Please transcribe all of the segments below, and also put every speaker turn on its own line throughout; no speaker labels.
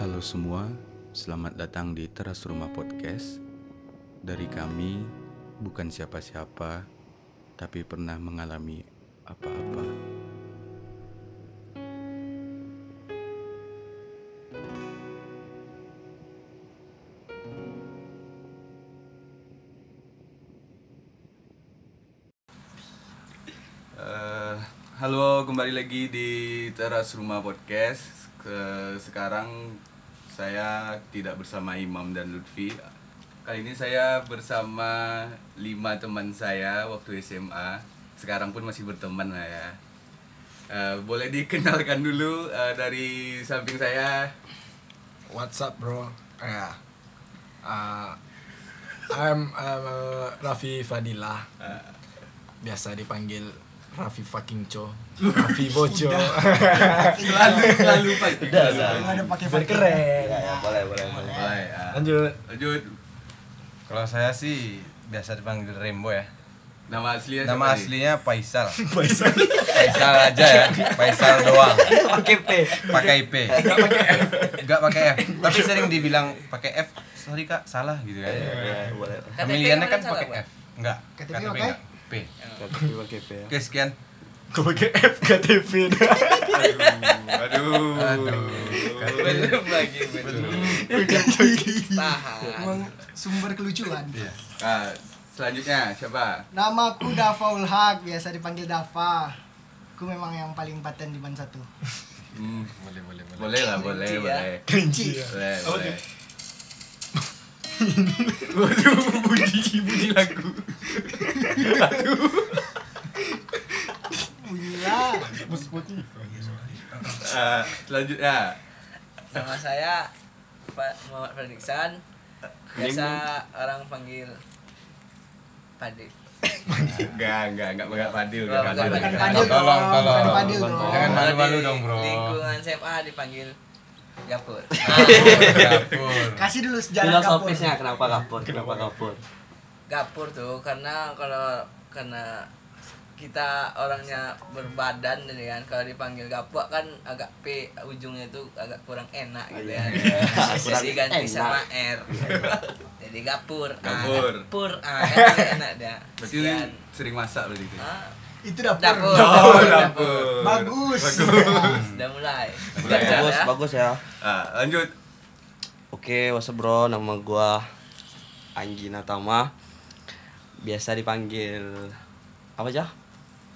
Halo semua, selamat datang di Teras Rumah Podcast. Dari kami, bukan siapa-siapa, tapi pernah mengalami apa-apa.
Eh, halo, kembali lagi di Teras Rumah Podcast. Ke- sekarang saya tidak bersama Imam dan Lutfi. Kali ini saya bersama lima teman saya waktu SMA. Sekarang pun masih berteman lah ya. Eh, boleh dikenalkan dulu eh, dari samping saya.
What's up, bro? Yeah. Uh, I'm, I'm uh, Raffi Fadila. Biasa dipanggil Raffi fucking Cho. Raffi Bojo.
Selalu selalu pakai.
Nggak ada pakai Biar keren.
boleh boleh boleh
Mulai, ah.
Lanjut.
Lanjut.
kalau saya sih biasa dipanggil Rembo ya
Nama aslinya Iya, siapa nih?
nama aslinya Paisal Paisal aja ya Paisal doang
Pakai P.
pakai P nggak pakai F nggak pakai F tapi sering dibilang pakai F sorry kak salah gitu
Iya,
kan pemilihannya kan pakai F nggak KTP nggak P
ya.
oke sekian
Gue pakai F KTP.
Aduh.
belum lagi belum
Emang sumber kelucuan.
Ah, selanjutnya siapa?
Namaku Dafa Ulhak, biasa dipanggil Dafa. Aku memang yang paling paten di ban satu.
Hmm, boleh boleh boleh. ya. Boleh lah, boleh, boleh.
Kerinci.
Boleh, boleh. Waduh, bunyi bunyi lagu.
Iya.
Ah, selanjutnya
Nama saya Fa- Muhammad Fredriksan. Biasa orang panggil Padi.
enggak enggak enggak enggak padil Oh, enggak
Bukan
padil.
padil.
enggak
Bukan
padil.
padil.
tolong
dong,
tolong
bukan Fadil dong.
jangan
Kalau
malu-malu
di
dong bro
Lingkungan SMA dipanggil Gapur.
Ya dapur
Kasih dulu sejarah kapur.
filosofisnya kenapa kapur kenapa kapur
Gapur tuh karena kalau karena kita orangnya berbadan dan kan kalau dipanggil gapur kan agak p ujungnya tuh agak kurang enak gitu
Iya,
ya. Jadi ganti sama r. Jadi gapur. Ah,
Gapur.
Gapur. Ah, kan lebih enak dia.
Berarti ini
Sekian.
sering masak berarti itu.
Ah,
Itu dapur.
Dapur.
Oh, dapur.
Bagus.
Udah mulai.
Mulai ya?
bagus bagus ya
Ah, lanjut.
oke what's up bro nama gua Anggi Natama biasa dipanggil apa aja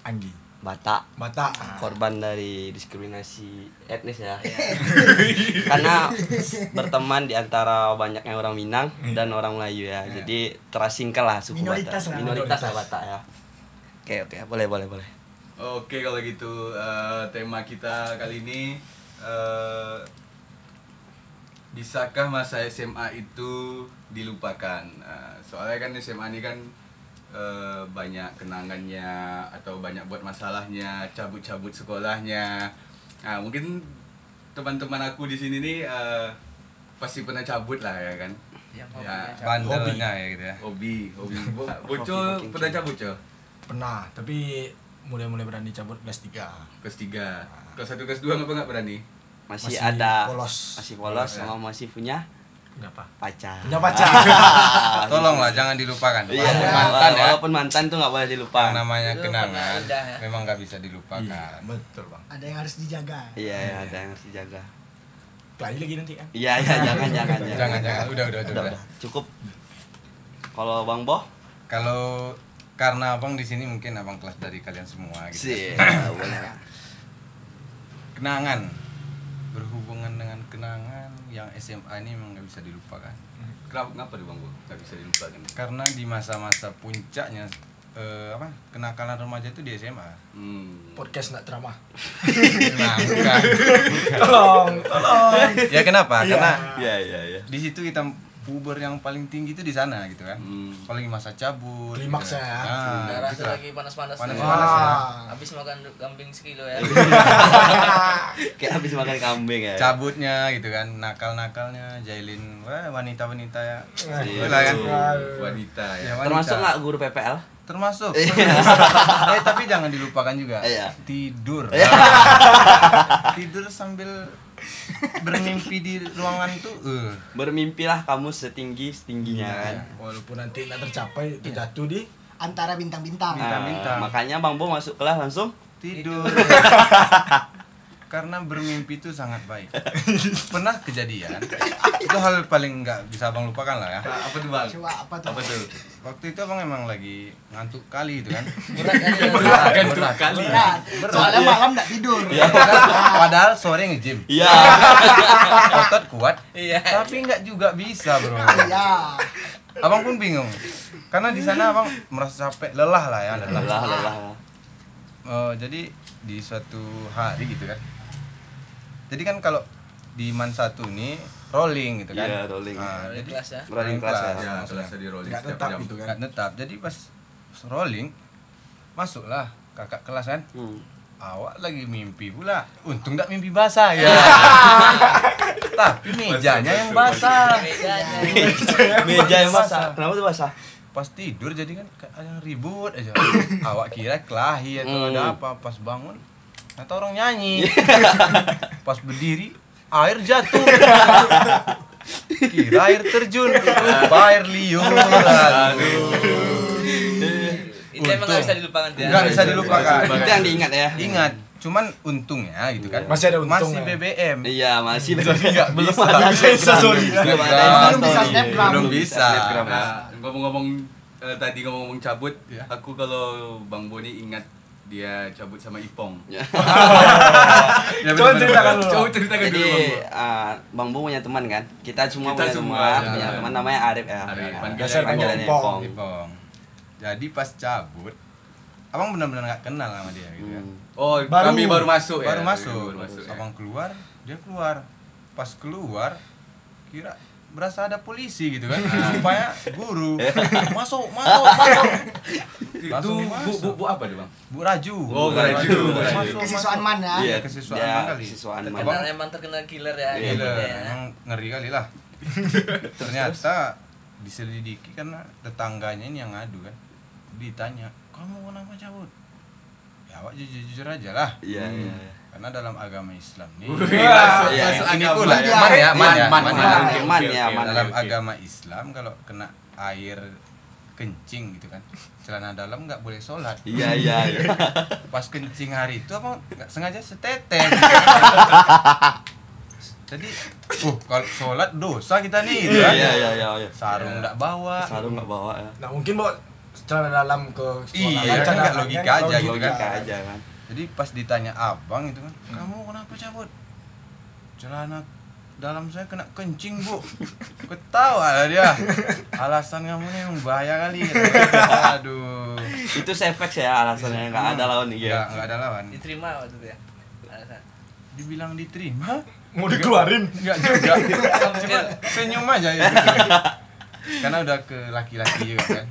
Anggi.
Batak
Mata.
korban dari diskriminasi etnis ya karena berteman di antara banyaknya orang Minang dan orang Melayu Hmm. ya jadi terasingkan lah suku
Minoritas
Batak
lah,
minoritas lah
minoritas.
Batak ya oke oke boleh boleh boleh
Oke kalau gitu eh, tema kita kali ini eh, bisakah masa SMA itu dilupakan? Eh, soalnya kan SMA ini kan eh, banyak kenangannya atau banyak buat masalahnya, cabut-cabut sekolahnya. Nah, mungkin teman-teman aku di sini nih eh, pasti pernah cabut lah ya kan?
Yang
Ya,
bandelnya ya gitu ya
hobi, hobi. Bo- Bocor pernah cabut, Cok?
Pernah, tapi mulai-mulai berani cabut kelas 3.
Kelas 3. Kelas 1 kelas 2 ngapa nggak berani?
Masih
masih, ada
polos.
masih polos Ya. sama masih punya
Kenapa?
pacar
Punya pacar.
Ah,
tolonglah jangan dilupakan
Iya,
Walaupun mantan ya
walaupun mantan tuh nggak boleh
yang
dilupakan.
namanya
Itu
kenangan
pernah udah ya.
memang nggak bisa dilupakan
Iya, betul, Bang.
Ada yang harus dijaga.
Iya, iya, ada yang harus dijaga.
Kelahi lagi nanti kan.
Iya, iya, jangan, jangan, jangan.
jangan jangan udah udah udah, Nah,
Udah, udah. Cukup. Kalau Bang Boh,
kalau karena abang di sini mungkin abang kelas dari kalian semua gitu
sih, ya, boleh. lah.
kenangan berhubungan dengan kenangan yang SMA ini memang nggak bisa dilupakan
Kenapa, kenapa tuh bang Bo? Gak bisa dilupakan
karena di masa-masa puncaknya eh, apa kenakalan remaja itu di SMA
hmm.
Podcast nak drama.
nah, bukan.
Tolong, tolong.
ya kenapa karena
Ya, ya, ya.
di situ kita puber yang paling tinggi itu di sana gitu kan
Hmm.
apalagi masa cabut
Klimaks
gitu kan.
ya.
Nah,
Darah
gitu
tuh
lah.
lagi panas-panas.
Panas- Iya.
Panas
panas ya.
Habis makan kambing sekilo ya.
Kayak habis makan kambing ya.
cabutnya gitu kan nakal-nakalnya jailin wah wanita-wanita ya
Wah,
Itulah kan
iya.
Wanita ya
Ya, wanita.
Termasuk nggak guru PPL?
termasuk eh tapi jangan dilupakan juga
Iya.
tidur tidur sambil bermimpi di ruangan tuh eh.
Bermimpilah kamu setinggi setingginya
Iya,
kan.
Walaupun nanti nggak tercapai, terjatuh di
antara bintang-bintang.
Nah,
Bintang-bintang.
makanya Bang Bo masuk kelas langsung
tidur karena bermimpi itu sangat baik pernah kejadian itu hal paling nggak bisa abang lupakan lah ya
apa tuh bang
Coba apa tuh?
apa tuh
waktu itu abang emang lagi ngantuk kali itu kan
Berat kan ya?
gantung kali
Berat. Soalnya malam nggak tidur.
Iya. padahal sore nge-gym
Iya
otot kuat
Iya.
tapi nggak juga bisa bro
Iya.
abang pun bingung karena di sana abang merasa capek lelah lah ya lelah
Iya, Lelah lelah
Eh, jadi di suatu hari gitu kan jadi kan kalau di man satu ini rolling gitu kan
Iya, rolling.
Ah,
Rolling
jadi-
kelas ya?
Rolling kelas ya.
ya
maksudnya.
kelasnya di rolling
nggak
setiap
tetap
jam
gitu kan.
nggak tetap jadi pas rolling masuklah kakak kelas kan
Hmm.
awak lagi mimpi pula untung nggak mimpi basah ya tapi mejanya yang basah
Bedanya.
Meja yang basah. Kenapa tuh basah?
pas tidur jadi kan kayak ada yang ribut aja awak kira kelahi atau
Hmm.
ada apa pas bangun atau orang nyanyi pas berdiri air jatuh kira air terjun lupa air liur aduh
Itu emang nggak bisa
Untung.
dilupakan ya.
nggak bisa dilupakan
Itu yang diingat ya.
ingat cuman untungnya gitu kan
Masih ada untung
masih
ya.
BBM
Iya, masih
nggak
belum
bisa.
ada Instagram.
sorry.
Belum ada
Belum
Instagram.
bisa snapgram.
Belum bisa.
Snapgram.
Nah, ngomong-ngomong eh, tadi ngomong-ngomong cabut,
Iya.
aku kalau Bang Boni ingat dia cabut sama Ipong.
Iya.
Ya.
Ya,
Coba
bener-bener.
ceritakan dulu.
Coba ceritakan
Jadi
dulu Bang Bo.
ah, Bang Bo punya teman kan? Kita semua
Kita
punya
semua,
teman,
ya.
punya teman namanya Arif ya.
Arif,
Ya,
panggilan
dasar
panggilan
panggilannya
Ipong.
Ipong.
Ipong. Jadi pas cabut, abang benar-benar nggak kenal sama dia gitu kan.
Oh,
Baru.
kami baru masuk ya.
Baru masuk,
Baru masuk. ya.
abang keluar, dia keluar. Pas keluar, kira berasa ada polisi gitu kan. Supaya guru
Iya.
masuk, masuk, masuk.
Itu
Langsung
bu,
masuk.
bu, bu apa tuh, Bang?
Bu Raju.
Oh, Bu Raju, Bu Raju.
Masuk,
Kesiswaan
masuk.
man ya.
Iya,
kesiswaan
dia
kali.
kesiswaan
Abang-
Terkenal emang terkenal killer ya.
Iya,
gitu
Gila,
ya.
emang ngeri kali lah. Ternyata diselidiki karena tetangganya ini yang ngadu kan. Ditanya, kamu kenapa cabut? Ya awak jujur-jujur aja lah.
Iya, iya. iya.
Karena dalam agama Islam nih.
Masuk-
iya,
masuk
ini
agama
pula.
ya.
Man ya, man ya,
Man,
man
man,
ya.
Oke,
Man
oke,
ya,
oke,
man.
oke,
dalam
oke.
agama Islam kalau kena air kencing gitu kan celana dalam nggak boleh sholat
Iya, iya, iya.
pas kencing hari itu apa nggak sengaja setetes jadi uh kalau sholat dosa kita nih gitu
Iya,
kan.
iya, iya, iya, iya.
sarung nggak bawa
Sarung nggak bawa ya.
Nah mungkin bawa secara dalam ke sekolah.
Iya, kan nggak
Cara-
logika aja gitu kan.
Logika aja kan.
jadi pas ditanya abang itu kan
Hmm.
kamu kenapa cabut celana dalam saya kena kencing bu ketawa lah dia alasan kamu nih yang bahaya kali gitu. aduh
Itu sepek ya alasannya nggak ada lawan
Hmm.
nih
nggak
ya.
nggak ada lawan
Diterima waktu itu ya. Alasan.
dibilang diterima
Mau dikeluarin.
Enggak juga. Cuma senyum aja ya. Karena udah ke laki-laki juga kan.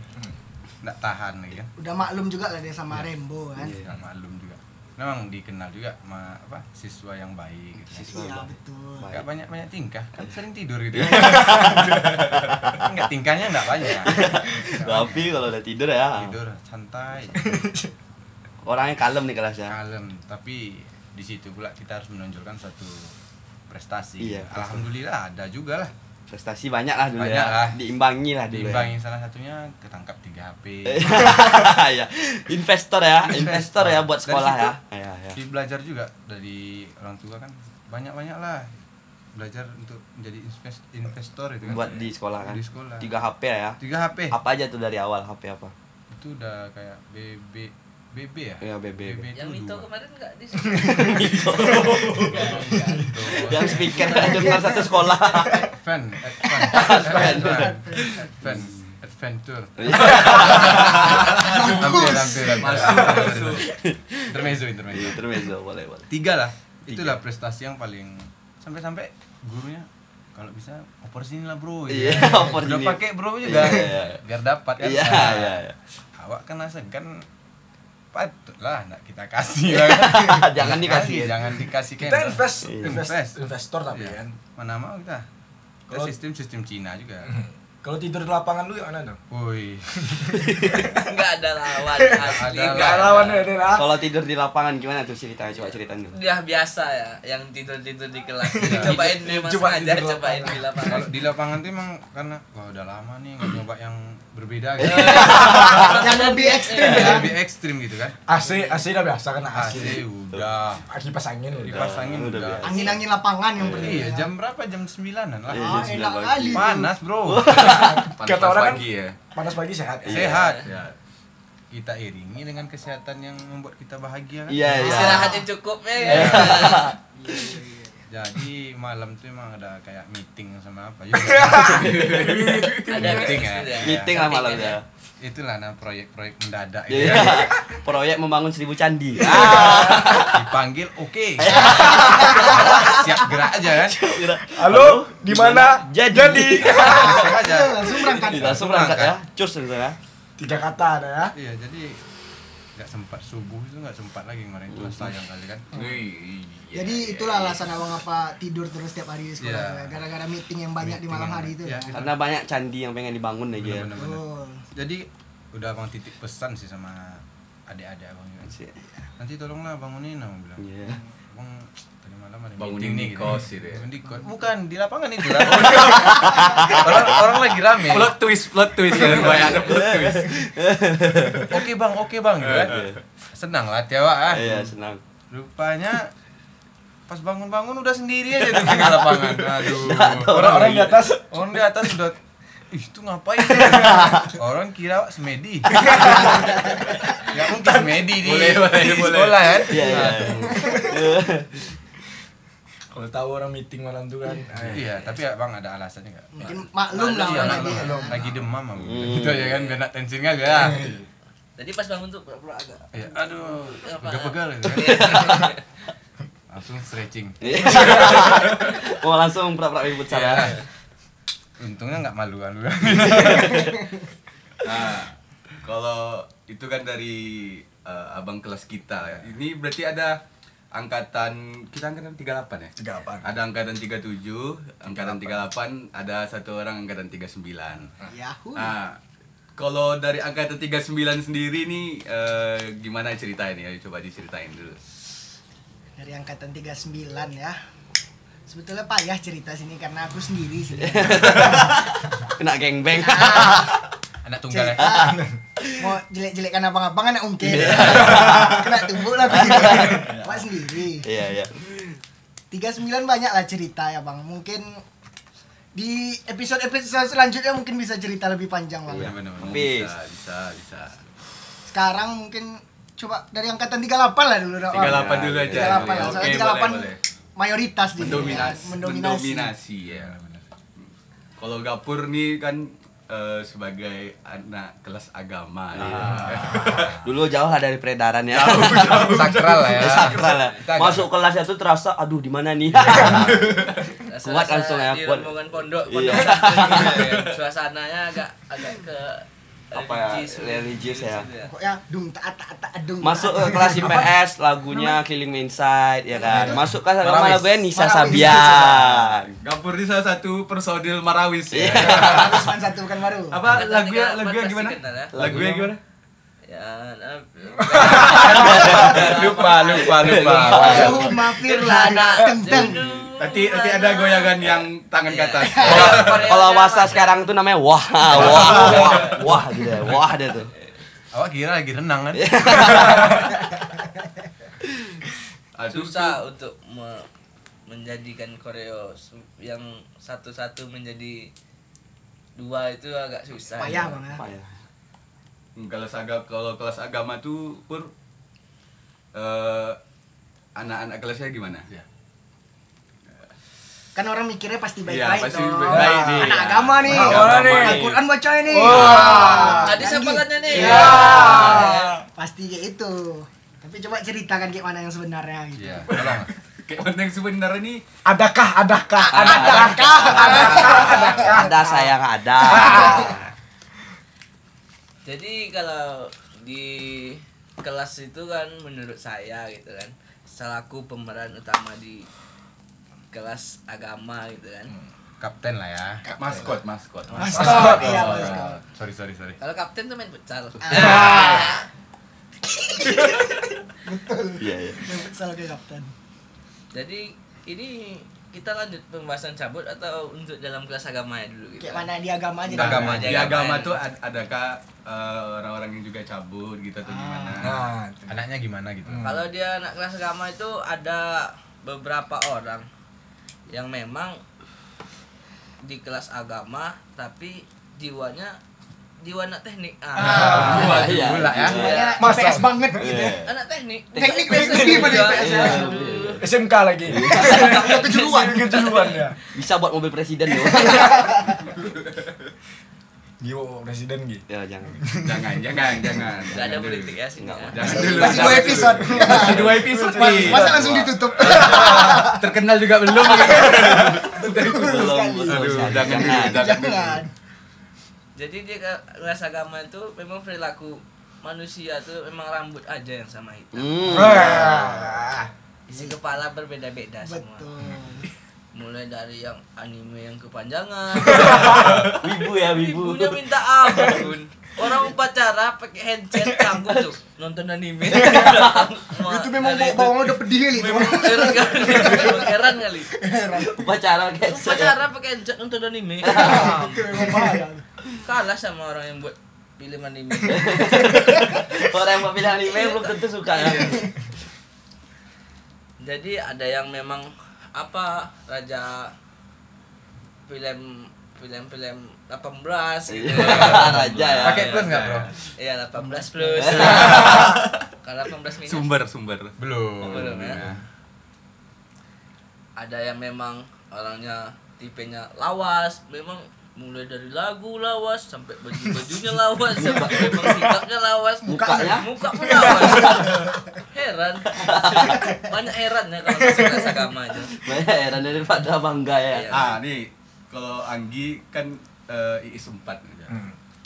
Enggak tahan lagi kan.
Udah maklum juga lah dia sama Rembo kan.
Iya.
Enggak malum juga. Memang dikenal juga sama apa siswa yang baik gitu. Siswa
Iya betul.
Enggak banyak-banyak tingkah, kan
Iya.
sering tidur gitu. Enggak tingkahnya enggak banyak.
Tapi kalau udah tidur ya,
Tidur santai,
orangnya kalem nih kelas ya.
kalem, tapi di situ pula kita harus menonjolkan satu prestasi.
Iya, prestasi.
Alhamdulillah ada juga lah.
Prestasi banyak lah dulu
Banyak lah.
ya. Diimbangi lah dulu. ya.
Diimbangi salah satunya ketangkap 3 HP.
ya investor ya investor ya buat
Dari
sekolah ya
situ,
ya ya
Di belajar juga dari orang tua kan banyak-banyak lah belajar untuk menjadi invest- investor itu kan.
buat di sekolah kan
Di sekolah.
tiga HP ya
Tiga HP.
apa aja tuh dari awal HP apa
Itu udah kayak BB BB ya?
Iya, BB.
itu
Yang Mito
dua.
kemarin nggak di
yang speaker dengar satu sekolah
Fan, advan- advan- advan- adventure. Iya. Hampir, hampir, hampir. Intermezzo,
Iya,
intermezzo.
intermezzo boleh boleh
Tiga lah. Itulah prestasi yang paling sampai-sampai gurunya kalau bisa opor sini lah bro. gitu.
iya opor
Udah
ini
pakai bro juga.
Iya, iya, iya.
Biar dapat kan.
iya
Nah,
iya iya.
Awak kan segan patut lah nak kita kasih lah.
Iya. Jangan dikasih.
Jangan dikasih
Kita
kan.
invest,
Iya.
invest,
Invest.
investor tapi kan.
Iya. Mana mau kita. Kita
Kalau- Hmm.
sistem sistem Cina juga.
Kalau tidur di lapangan lu yang mana dong?
Woi.
Enggak ada lawan asli.
Ada
nggak
lawan,
ada.
Kalau tidur di lapangan gimana tuh ceritanya? Coba ceritain dulu.
Dia biasa ya, yang tidur-tidur di
Iya.
kelas. Jadi cobain deh Mas
Coba
Ajar,
tidur
cobain di lapangan.
Nah, Kalau di lapangan tuh emang karena wah udah lama nih nggak nyoba yang berbeda gitu.
yang lebih ekstrim
Yang
ya
lebih ekstrim gitu kan.
AC, AC udah biasa kan AC.
AC udah.
Kipas angin udah.
Kipas angin
Udah
udah.
biasa.
angin-angin lapangan yang penting
Iya, jam berapa? Jam 9-an lah.
ah
Iya, jam
enak
9 pagi.
kali tuh
Panas, Bro.
Panas
Kata orang kan-
pagi ya.
Panas pagi sehat. ya?
Sehat.
Ya.
Kita iringi dengan kesehatan yang membuat kita bahagia kan.
Iya, iya.
Istirahat yang cukup ya.
Iya. Jadi malam tuh emang ada kayak meeting sama apa ya? juga.
Ada
Meeting ya.
bisnis ya.
Meeting lah malam ya.
Itulah nah proyek-proyek mendadak ya.
Jadi
itu.
proyek membangun seribu candi.
Dipanggil oke. Siap gerak aja kan.
Halo, di mana?
Jadi,
Langsung aja.
Iya, Kan langsung berangkat
langsung berangkat ya. Cus gitu ya.
Tiga kata ada ya.
Iya, jadi nggak sempat subuh itu nggak sempat lagi kemarin itu sayang kali kan.
Wih, iya,
jadi
iya,
itulah
iya.
alasan abang apa tidur terus tiap hari di
Iya.
sekolah ya. gara-gara meeting yang banyak di
Meeting
malam
yang-
hari itu
iya,
ya
itu.
Karena banyak candi yang pengen dibangun ya. aja.
Bener-bener.
Betul.
Jadi udah abang titip pesan sih sama adik-adik abang juga. Nanti tolonglah bangunin abang bilang.
Iya.
Abang tadi malam ada
Bangunin
meeting
di
gitu.
kos gitu ya.
Bangunin di kos. Bukan di lapangan itu lah. orang, orang lagi rame.
Plot twist, plot twist ya, banyak ada plot twist.
Oke bang, oke bang gitu kan. Senang lah Tiawa ah.
Iya, senang.
Rupanya pas bangun-bangun udah sendiri aja di tengah lapangan. Aduh.
Orang-orang di atas.
Orang di atas udah Ih, itu ngapain? Orang kira Wak semedi. ya mungkin semedi di,
Boleh, boleh,
di
boleh.
sekolah kan?
Iya, iya.
Kalau tahu orang meeting malam tuh kan.
Nah, Iya, tapi ya Bang ada alasannya enggak?
mungkin maklum lah
Iya,
orang
maklum.
lagi
lagi demam Bang. Gitu aja kan biar nak tensin kan ya.
Jadi pas bangun tuh pura-pura agak.
Iya, Aduh,
Apa?
pegal-pegal gitu kan. Langsung stretching.
iya. Mau langsung pura-pura ribut sama.
Untungnya enggak maluan lu.
Nah, kalau itu kan dari eh, abang kelas kita ya. Ini berarti ada angkatan kita angkatan 38 ya?
Tiga apa?
Ada angkatan 37, angkatan 38, ada satu orang angkatan 39.
Yahoo.
Nah, kalau dari angkatan 39 sendiri nih eh, gimana ceritain ya? Coba diceritain dulu.
dari angkatan 39 ya sebetulnya payah cerita sini karena aku sendiri sih
Iya,
Kena gengbeng.
Anak tunggal ya. Iya.
cerita mau jelek-jelekan abang-abang anak ungkit kena tumbuk lah aku sini Wak sendiri
Iya, iya.
39 banyak lah cerita ya bang mungkin di episode-episode selanjutnya mungkin bisa cerita lebih panjang bang
Iya.
Bener-bener.
Habis.
Bisa, bisa, bisa.
sekarang mungkin coba dari angkatan 38 lah dulu Bang.
38 dulu aja. Oke,
38 lah, soalnya
boleh,
38
boleh.
mayoritas di sini ya,
Mendominasi.
mendominasi.
Mendominasi, ya. Kalau Gapur nih kan eh, sebagai anak kelas agama ya. nih.
Dulu jauh lah dari peredaran ya.
Sakral lah ya.
Ya, sakral lah.
Kita agak-
Masuk kelas itu terasa aduh di mana nih.
Rasa-rasa
Kuat langsung ya,
Di
kuat.
rombongan pondok, pondok
Iya.
santri gitu ya. Suasananya agak agak ke Iya.
Apa ya, religius ya.
Pokoknya dung tak tak tak dung.
Masuk ke kelas IPS lagunya Killing Me Inside ya kan. Masuk kelas agama
Marawis.
lagunya Nisa
Marawis.
Sabian.
Gapur ini salah satu personil Marawis ya.
Iya. Bagus man satu bukan baru.
Apa
Angkatan
lagunya
38
lagunya
pasti
gimana?
kenal ya.
Lagunya gimana?
Ya, nah,
lupa lupa lupa
Allahumma firlana tenteng.
Iya. Nanti nanti ada goyangan yang tangan ke atas.
Iya. Korea- kan
Kalau
Korea
wasa
apa?
sekarang tuh namanya wah, wah, wah, wah gitu ya. Wah dia tuh.
awak kira lagi renang kan
Iya. Ah, itu-
susah untuk me- menjadikan koreo su- yang satu-satu menjadi dua itu agak susah.
Payah bang ya.
Apa ya?
Hmm, Kelas agama kalau kelas agama tuh pur eh, anak-anak kelasnya gimana?
Kan orang mikirnya pasti
Iya,
baik-baik
pasti
dong.
baik-baik nih.
Anak agama nih.
Anak agama nih.
Al-Quran baca ini.
Tadi siapa katanya nih?
Iya.
Ya.
Iya.
Pasti kayak itu. Tapi coba ceritakan kayak mana yang sebenarnya gitu.
iya tolong
Kayak mana yang sebenarnya nih?
Adakah, adakah,
Ah.
adakah?
Adakah?
Ada sayang ada.
Jadi kalau di kelas itu kan menurut saya gitu kan selaku pemeran utama di kelas agama gitu kan
kapten lah ya.
Maskot, maskot.
Maskot, iya
Oh,
maskot.
Sorry sorry sorry.
Kalau kapten tuh main futsal. Ah,
Iya, iya.
Main futsal ke kapten.
Jadi ini kita lanjut pembahasan cabut atau untuk dalam kelas agama ya dulu gitu.
Kayak mana di agama aja.
Enggak, agama ya.
Di
aja.
agama tuh ad- adakah eh, orang-orang yang juga cabut gitu atau gimana? Hmm,
Nah, itu.
Ah. Anaknya gimana gitu?
Kalau dia anak kelas agama itu ada beberapa orang yang memang di kelas agama tapi jiwanya jiwa anak teknik. Ah.
Gula,
Iya.
gula ya.
Kayak
Masa?
IPS banget gitu.
Iya.
Anak teknik.
Teknik,
Teknik
teknik,
IPS.
teknik, IPS.
Iya.
SMK lagi.
Iya.
Kayak kejuruan.
Kejuruan ya.
Bisa buat mobil presiden loh.
Gio presiden gitu.
ya jangan.
Jangan, jangan, jangan.
Gak ada
Jangan dulu.
politik ya sini.
Nggak
ya.
ada.
Jangan dulu.
Masih dua
jangan
episode.
dulu.
Masih
Dua episode. nih.
Masa langsung ditutup.
terkenal juga belum.
Belum,
Aduh,
belum. Jangan.
jangan dulu,
jangan.
jangan dulu.
Jangan.
Jadi dia ke- kelas agama itu memang perilaku manusia tuh memang rambut aja yang sama hitam.
Hmm.
Iya.
Eh. Ah.
Isi kepala berbeda-beda semua.
Betul.
Mulai dari yang anime yang kepanjangan,
Wibu ya, wibu.
ibunya minta ampun. Orang pacara pakai headset tangguh tuh nonton anime.
Itu memang bawa bawang udah pedih kali. itu.
Heran kali, memang heran kali.
Upacara kayak
Pacara pakai headset nonton anime.
Itu memang bahaya.
Kalah sama orang yang buat film anime.
Orang yang mau pilih anime belum tentu suka ya.
Jadi ada yang memang apa raja film film-film 18 gitu.
Iya. Raja ya.
Pakai plus enggak, Bro?
Iya 18 plus. Kalau 18 minus
Sumber, sumber.
Belum.
Belum ya. ada yang memang orangnya tipenya lawas, memang mulai dari lagu lawas sampai baju-bajunya lawas sampai memang sikapnya lawas
Mukanya?
muka pun lawas heran banyak heran ya kalau masuk kelas agama aja
Banyak heran daripada bangga ya.
Iya.
Ah, nih kalau Anggi kan eh, IIS 4 aja.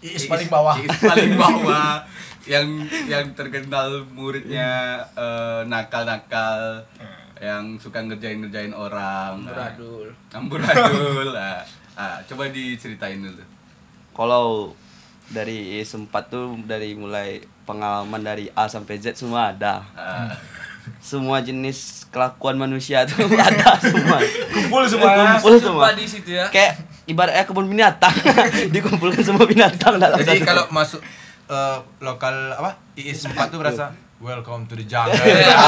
Iis paling bawah.
Iis paling bawah yang yang terkenal muridnya eh, nakal-nakal yang suka ngerjain-ngerjain orang. Nah,
beradul
Amburadul. lah. Ah, coba diceritain dulu.
Kalau dari IIS 4 tuh dari mulai pengalaman dari A sampai Z semua ada.
Ah,
Semua jenis kelakuan manusia tuh ada semua.
Kumpul semua.
Kumpul semua.
Sumpah di situ ya
Kayak ibaratnya kebun binatang. Dikumpulkan semua binatang dalam
Jadi
satu
kalau masuk eh, lokal apa? IIS 4 tuh berasa welcome to the jungle.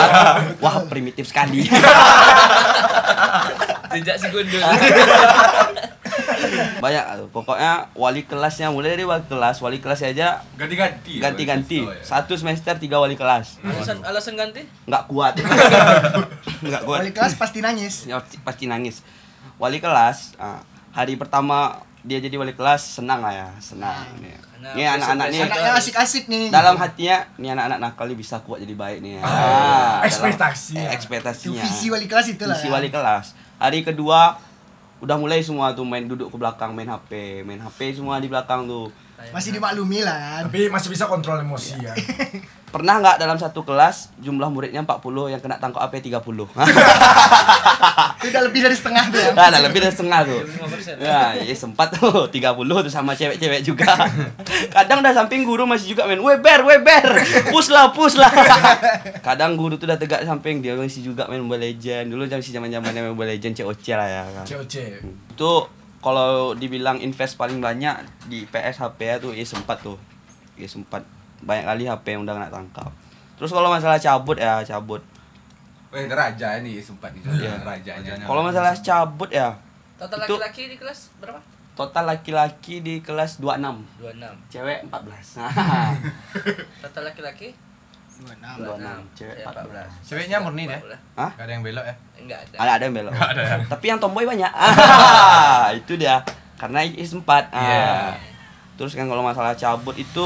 Wah primitif sekali.
jejak si gundul
Banyak tuh. pokoknya wali kelasnya mulai dari wali kelas wali kelas aja
Iya,
Ganti-ganti. ya,
ganti-ganti
Bang? Oh, ya.
satu semester tiga wali kelas
alasan, alasan ganti
nggak kuat nggak kuat
Wali kelas pasti nangis.
Ya, pasti nangis wali kelas ah, hari pertama dia jadi wali kelas senang lah ya senang ini
Karena
Ini anak-anak nih
besok-besok-
Nah, Anaknya asik-asik nih.
dalam hatinya nih anak-anak nakal nih bisa kuat jadi baik nih
Ah,
Ah, dalam-
ekspektasi.
eh,
Itu
ekspektasinya
visi wali kelas itulah.
Isi
ya.
wali kelas. Hari kedua udah mulai semua tuh main duduk ke belakang main HP, main HP semua di belakang tuh.
Masih dimaklumi lah.
Tapi masih bisa kontrol emosi ya.
Pernah nggak dalam satu kelas jumlah muridnya 40 yang kena tangkap HP 30?
Itu udah lebih dari setengah tuh ya.
Nah, nah, lebih dari setengah tuh.
25%.
Ya, ya sempat tuh 30 tuh sama cewek-cewek juga. Kadang udah samping guru masih juga main weber, weber. Push lah, push lah. Kadang guru tuh udah tegak di samping dia masih juga main Mobile Legend. Dulu masih zaman-zamannya Mobile Legend COC lah ya kan.
COC.
itu kalau dibilang invest paling banyak di PSHP ya tuh IS4 tuh IS4 banyak kali HP yang udah kena tangkap terus kalau masalah cabut ya cabut
Weh, raja nih IIS 4 nih.
Ya,
Iya.
Rajanya.
kalau masalah cabut ya
total
Itu-
laki-laki di kelas berapa
total laki-laki di kelas 26
26
cewek 14 Hahaha.
total laki-laki Ya,
26 cewek 14
Ceweknya murni deh.
Hah?
Gak ada yang belok ya.
enggak ada
ada ada yang belok tapi yang tomboy banyak Hahaha, itu dia karena IS4 ah. terus kan kalau masalah cabut itu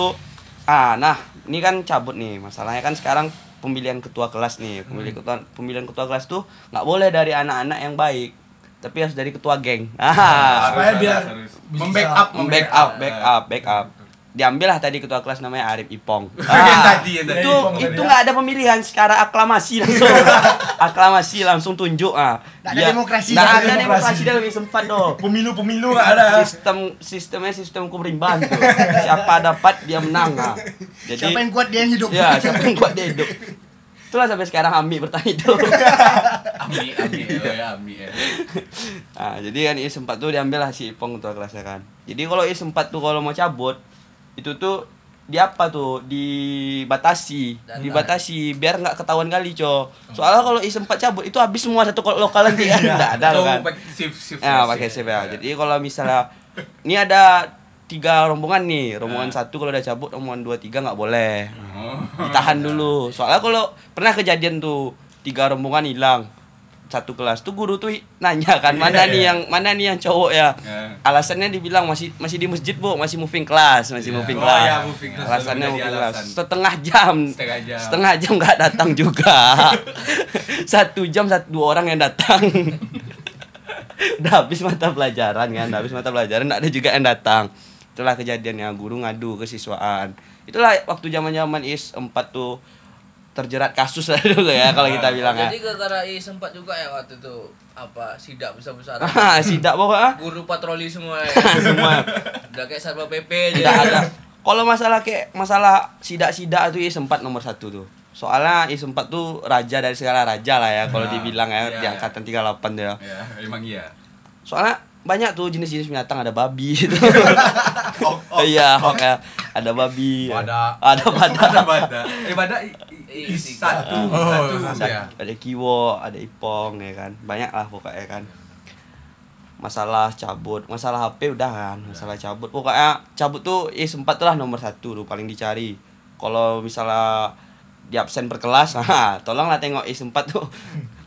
ah nah ini kan cabut nih masalahnya kan sekarang pemilihan ketua kelas nih pemilihan ketua pemilihan ketua kelas tuh nggak boleh dari anak-anak yang baik tapi harus dari ketua geng ah
Supaya
Harus,
biar
harus, harus.
bisa-
Iya.
Membackup,
back up back up back up diambil lah tadi ketua kelas namanya Arif Ipong. Ah,
Yang tadi, yang tadi.
itu
Ipong
itu nggak ada pemilihan secara aklamasi langsung. aklamasi langsung tunjuk ah.
Nggak ada
Dia-
demokrasi,
nggak
nggak ada
ada
demokrasi.
demokrasi dia lebih sempat doh.
Pemilu-pemilu nggak ada.
Sistem sistemnya sistem kumrimban tuh. Siapa dapat dia menang ah. Jadi
siapa yang kuat dia yang hidup
Ya, siapa yang kuat dia hidup. Itulah sampai sekarang Ami bertahan hidup.
Ami, Ami,
iya,
oh ya Ami. ya.
Nah, jadi kan I4 tuh diambil lah si Ipong ketua kelasnya kan. Jadi kalau I4 tuh kalau mau cabut itu tuh di apa tuh dibatasi
Dan-
dibatasi biar nggak ketahuan kali co soalnya kalau I4 cabut itu habis semua satu kol- lokal nanti kan nggak ada
Atau
lo kan
pakai shift, shift.
ya
shift.
pakai CPA
Ya.
jadi kalau misalnya ini ada tiga rombongan nih rombongan
Ah.
satu kalau udah cabut rombongan dua tiga nggak boleh
Oh.
ditahan dulu soalnya kalau pernah kejadian tuh tiga rombongan hilang satu kelas tuh guru tuh i-
Iya,
nanya kan mana nih yang mana nih yang cowok ya
Ya.
alasannya dibilang masih masih di masjid bu masih moving class masih
Iya.
moving
Oh,
class
iya, moving class,
alasannya
selalu
moving
jadi
class
alasan.
setengah jam
Setengah jam.
setengah jam nggak datang juga satu jam satu dua orang yang datang udah habis mata pelajaran kan udah habis mata pelajaran nggak ada juga yang datang itulah kejadiannya guru ngadu kesiswaan itulah waktu zaman zaman is 4 tuh terjerat kasus lah dulu ya kalau kita bilang ya
Jadi gara-gara I sempat juga ya waktu itu apa sidak besar-besaran.
Ah, sidak pokoknya Ah,
Guru patroli semua. Ya.
Semua.
Udah kayak satpol PP aja.
tidak ada kalau masalah kayak masalah sidak-sidak itu sempat nomor satu tuh soalnya sempat tuh raja dari segala raja lah ya kalau
Nah,
dibilang ya
iya,
di angkatan 38 tuh ya
Ya, emang iya.
soalnya banyak tuh jenis-jenis binatang ada babi gitu
Oh, oh.
iya hok ya ada babi ya.
Ada.
ada badak
Ada Bada. Eh Bada i- i-
Iya,
i-
tiga.
satu,
Oh,
satu.
satu.
ada,
Iya.
ada kiwo ada ipong ya kan banyak lah pokoknya kan masalah cabut masalah HP udah kan masalah cabut pokoknya cabut tuh eh sempat lah nomor satu tuh paling dicari kalau misalnya di absen berkelas nah, tolonglah tengok eh sempat tuh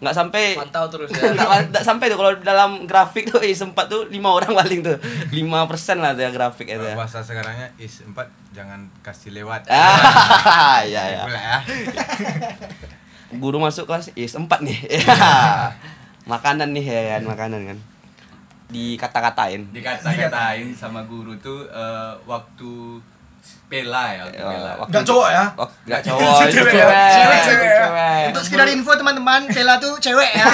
nggak sampai
Mantau terus ya.
tidak sampai tuh kalau dalam grafik tuh eh sempat tuh lima orang paling tuh lima persen lah tuh yang grafik itu ya.
Bahasa sekarangnya is 4 jangan kasih lewat.
Eh, ah ya ya
Boleh ya.
guru masuk kelas is empat nih makanan nih ya kan makanan kan dikata-katain
Dikata-katain sama guru tuh eh, waktu pela ya, waktu
Eh,
pela.
waktu-
Nggak cowok ya?
Wak- nggak cowok
Cewek,
itu cewek
cewek,
itu
cewek.
cewek.
untuk sekedar info teman-teman Vela tuh cewek ya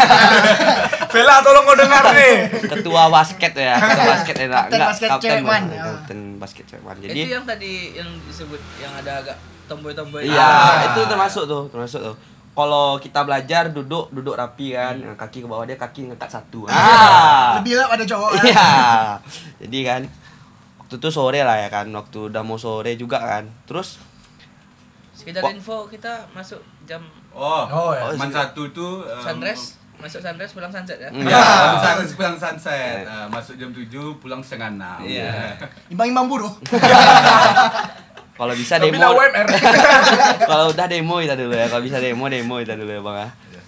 Vela tolong kau dengar nih.
ketua basket ya ketua basket ya enggak
Kapten basket cewek
bukan,
man.
kapten basket cewek man. jadi
Itu yang tadi yang disebut yang ada agak tomboy-tomboy.
iya
Ah.
itu termasuk tuh termasuk tuh kalau kita belajar duduk duduk rapi kan Yang kaki ke bawah dia kaki ngangkat satu ah
Hmm. lebih lah ada cowok ya.
Iya. Jadi kan waktu itu sore lah ya kan, waktu udah mau sore juga kan. Terus
Sekedar
Kok-
info kita masuk jam
Oh,
Oh, ya.
man satu tuh em,
sunrise, masuk sunrise pulang sunset ya.
Mm.
Ya,
Ya.
sunset, pulang sunset. Eh, masuk jam 7, pulang setengah 6.
Iya.
imam-imam buruh
Iya. kalau bisa
Tapi lah
demo,
UMR.
kalau udah demo kita dulu ya, kalau bisa demo demo kita dulu ya bang ya.
Iya.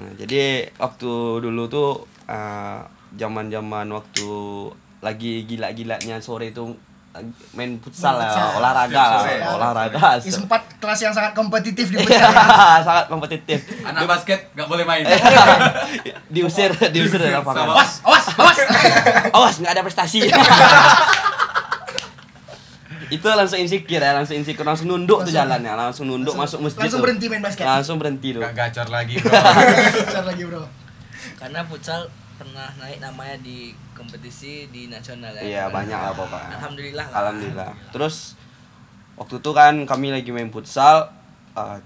Nah, jadi waktu dulu tuh eh, zaman-zaman waktu lagi gila-gilanya sore itu eh, main futsal
Main
lah,
futsal.
olahraga
Setiap
lah,
sore.
olahraga.
is empat kelas yang sangat kompetitif di
Iya,
pecah
sangat kompetitif.
Ah, Anak basket nggak boleh main.
diusir, diusir dari lapangan.
awas awas awas
awas nggak ada prestasi itu langsung insecure ya langsung insecure langsung nunduk tuh jalannya langsung nunduk masuk masjid
langsung
tuh.
berhenti main basket.
langsung berhenti tuh
Gak gacor lagi, Bro.
Bentar lagi bro
Karena futsal pernah naik namanya di kompetisi di nasional ya.
iya banyak lah pokoknya
Alhamdulillah. lah.
alhamdulillah terus waktu itu kan kami lagi main futsal eh,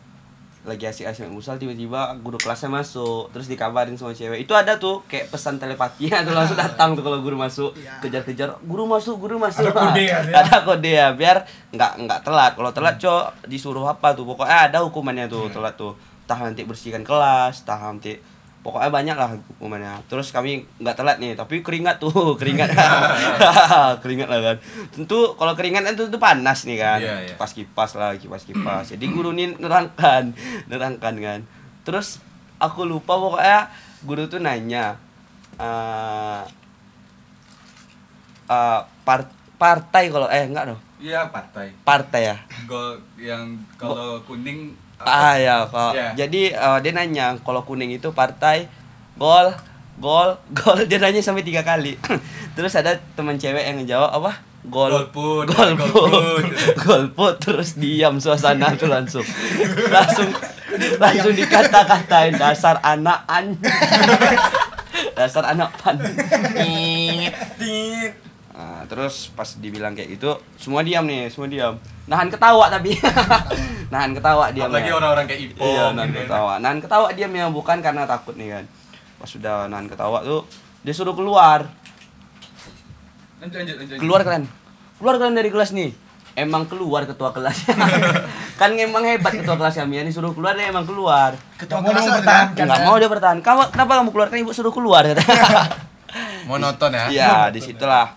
lagi asik-asik main futsal tiba-tiba guru kelasnya masuk terus dikabarin sama cewek itu ada tuh kayak pesan telepatinya tuh langsung datang tuh kalau guru masuk
Iya.
kejar-kejar guru masuk guru masuk Nah,
Ada kode ya, dia.
ada kode ya biar nggak nggak telat kalau
Hmm.
telat cok disuruh apa tuh pokoknya ada hukumannya tuh telat tuh entah nanti bersihkan kelas entah nanti pokoknya banyak lah hukumannya terus kami nggak telat nih tapi keringat tuh keringat keringat lah kan tentu kalau keringat kan tentu panas nih kan
Iya, iya.
kipas kipas lah kipas kipas jadi guru ini nerangkan nerangkan kan terus aku lupa pokoknya guru tuh nanya eh eh, par- partai kalau eh enggak dong
Iya, partai.
partai ya
Gol yang kalau kuning
ah ya kalau
Iya.
jadi eh, dia nanya kalau kuning itu partai gol gol gol dia nanya sampai tiga kali terus ada teman cewek yang ngejawab apa gol
Golput,
golput
golput.
golput terus diam suasana tuh langsung langsung langsung dikata-katain dasar anak an dasar anak pan Tit, tit. Nah, terus pas dibilang kayak gitu semua diam nih semua diam nahan ketawa tapi nahan ketawa diam
Apalagi
ya.
orang-orang kayak Ipong
Iya, nahan
gitu ya.
ketawa. Nahan ketawa dia memang bukan karena takut nih kan. Pas sudah nahan ketawa tuh dia suruh keluar.
Lanjut, lanjut, lanjut.
Keluar kalian. Keluar kalian dari kelas nih. Emang keluar ketua kelasnya. kan emang hebat ketua kelas kami ya disuruh keluar dia emang keluar.
Ketua
Nggak mau
kelas
dong,
ada.
bertahan.
Enggak mau dia bertahan. Kamu kenapa kamu keluar? Kan ibu suruh keluar kata.
Monoton ya.
Iya, disitulah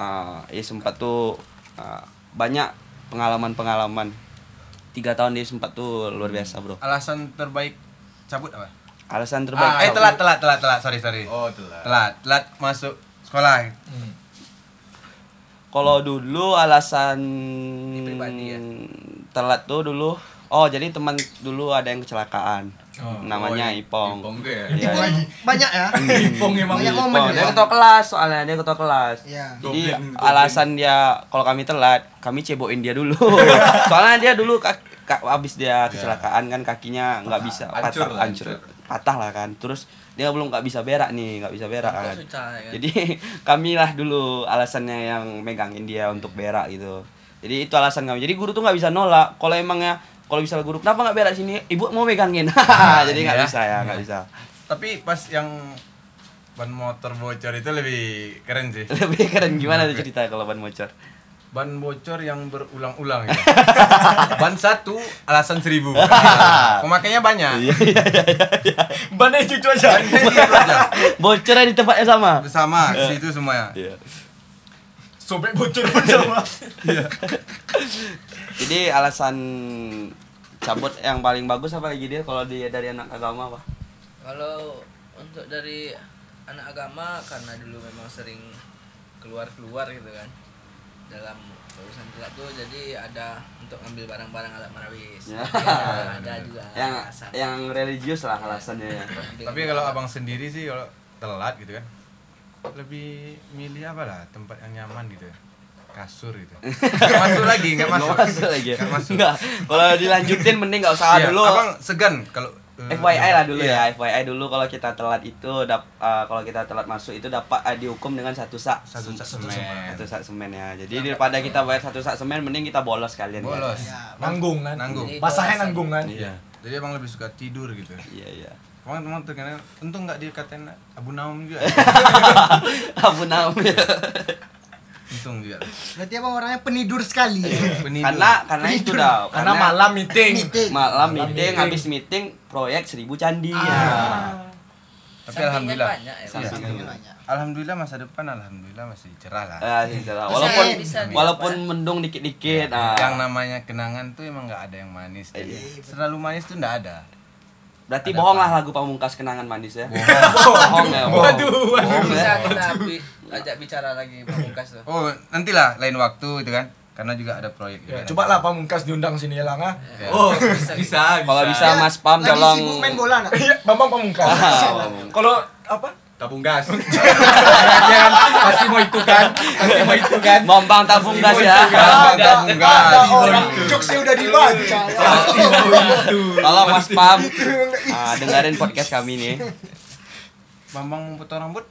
ah, ya sempat tuh ah, banyak pengalaman-pengalaman. Tiga tahun dia sempat tuh luar biasa bro.
Alasan terbaik cabut apa?
Alasan terbaik.
Ah, eh telat, telat, telat, telat. Sorry, sorry.
Oh, telah.
Telat, telat masuk sekolah.
Hmm.
Kalau dulu alasan
pribadi ya?
telat tuh dulu. Oh jadi teman dulu ada yang kecelakaan.
Oh.
Namanya
Oh, i-
Ipong.
Ipong tuh ya?
Iya.
Ipong banyak ya.
Ipong emang
Banyak
Ipong.
momen ya.
Dia ketua kelas soalnya dia ketua kelas.
Iya.
Jadi
Goblin, goblin.
alasan dia kalau kami telat, kami cebokin dia dulu. soalnya dia dulu kak, kak- abis dia kecelakaan kan kakinya nggak bisa
Hancur
patah
lah,
hancur.
hancur.
patah lah kan. Terus dia belum nggak bisa berak nih, nggak bisa berak
Kok
kan.
susah, ya kan?
Jadi kamilah dulu alasannya yang megangin dia untuk berak gitu. Jadi itu alasan kami. Jadi guru tuh nggak bisa nolak. Kalau emangnya kalau bisa guru kenapa nggak berak sini? Ibu mau megangin. Jadi nggak
iya.
bisa ya, nggak bisa.
Tapi pas yang ban motor bocor itu lebih keren sih.
Lebih keren gimana tuh cerita kalau ban bocor?
Ban bocor yang berulang-ulang ya. ban satu alasan seribu. Pemakainya banyak.
Iya,
Bannya cucu aja.
Bocornya di tempatnya sama.
Sama situ ya. semuanya.
Iya.
Sobek bocor pun sama.
Jadi alasan cabut yang paling bagus apa lagi dia kalau dia dari anak agama apa?
Kalau untuk dari anak agama karena dulu memang sering keluar-keluar gitu kan dalam urusan telat tuh jadi ada untuk ngambil barang-barang alat marawis
Ya.
Ya, ada juga
Yang
alasan.
yang religius lah alasannya ya.
Dengan-
Tapi kalau abang sendiri sih kalau telat gitu kan lebih milih apa lah tempat yang nyaman gitu ya. kasur gitu nggak masuk lagi nggak masuk
Nggak masuk lagi.
Nggak masuk.
Enggak. Kalau dilanjutin mending nggak usah
Iya,
dulu.
abang segan kalau eh,
FYI lah dulu
iya.
ya, FYI dulu kalau kita telat itu dap, eh, kalau kita telat masuk itu dapat eh, dihukum dengan satu sak
satu sak
Satu
semen
satu sak semen ya. Jadi daripada kita bayar satu sak semen mending kita bolos kalian. kan?
bolos
Iya,
Nanggung kan.
Nanggung.
Basahnya nanggung kan.
Iya.
jadi abang lebih suka tidur gitu
Iya iya.
abang emang terkenal untung nggak dikatain abu naum juga
Abu Naum.
untung juga
Berarti abang orangnya penidur sekali. ya?
Penidur.
karena karena itu dah.
Karena malam meeting.
Meeting.
Malam
malam meeting Ah.
meeting.
habis meeting proyek seribu candi
tapi
Sampingan
alhamdulillah
banyak ya,
Iya,
Sampingan.
Bang.
Sampingan banyak.
alhamdulillah masa depan alhamdulillah masih cerah lah
ya alhamdulillah. walaupun
bisa diapa-
walaupun mendung dikit-dikit ah.
Ya, yang namanya kenangan tuh emang nggak ada yang manis jadi
Iya.
selalu manis tuh nggak ada
berarti bohong lah lagu pamungkas kenangan manis ya
Bohong.
bohong ya bohong. Bohong
bisa
ya.
kita bi- ajak bicara lagi pamungkas tuh
oh nantilah lain waktu itu kan karena juga ada proyek gitu kan.
Ya,
juga.
coba lah pamungkas diundang sini ya Lang ah.
Oh, bisa, bisa.
kalau bisa
Ya,
mas pam
lagi
tolong Ah.
sibuk main bola nak.
Iya, Bambang pamungkas. Kalau apa?
Tabung gas.
Iya
Jangan, pasti mau itu kan. Pasti mau itu kan.
Mombang tabung gas ya
Bambang tabung gas.
Ada orang jokesnya udah dibaca.
Pasti mau itu.
tolong mas pam ah, dengerin podcast kami nih
Bambang mau potong rambut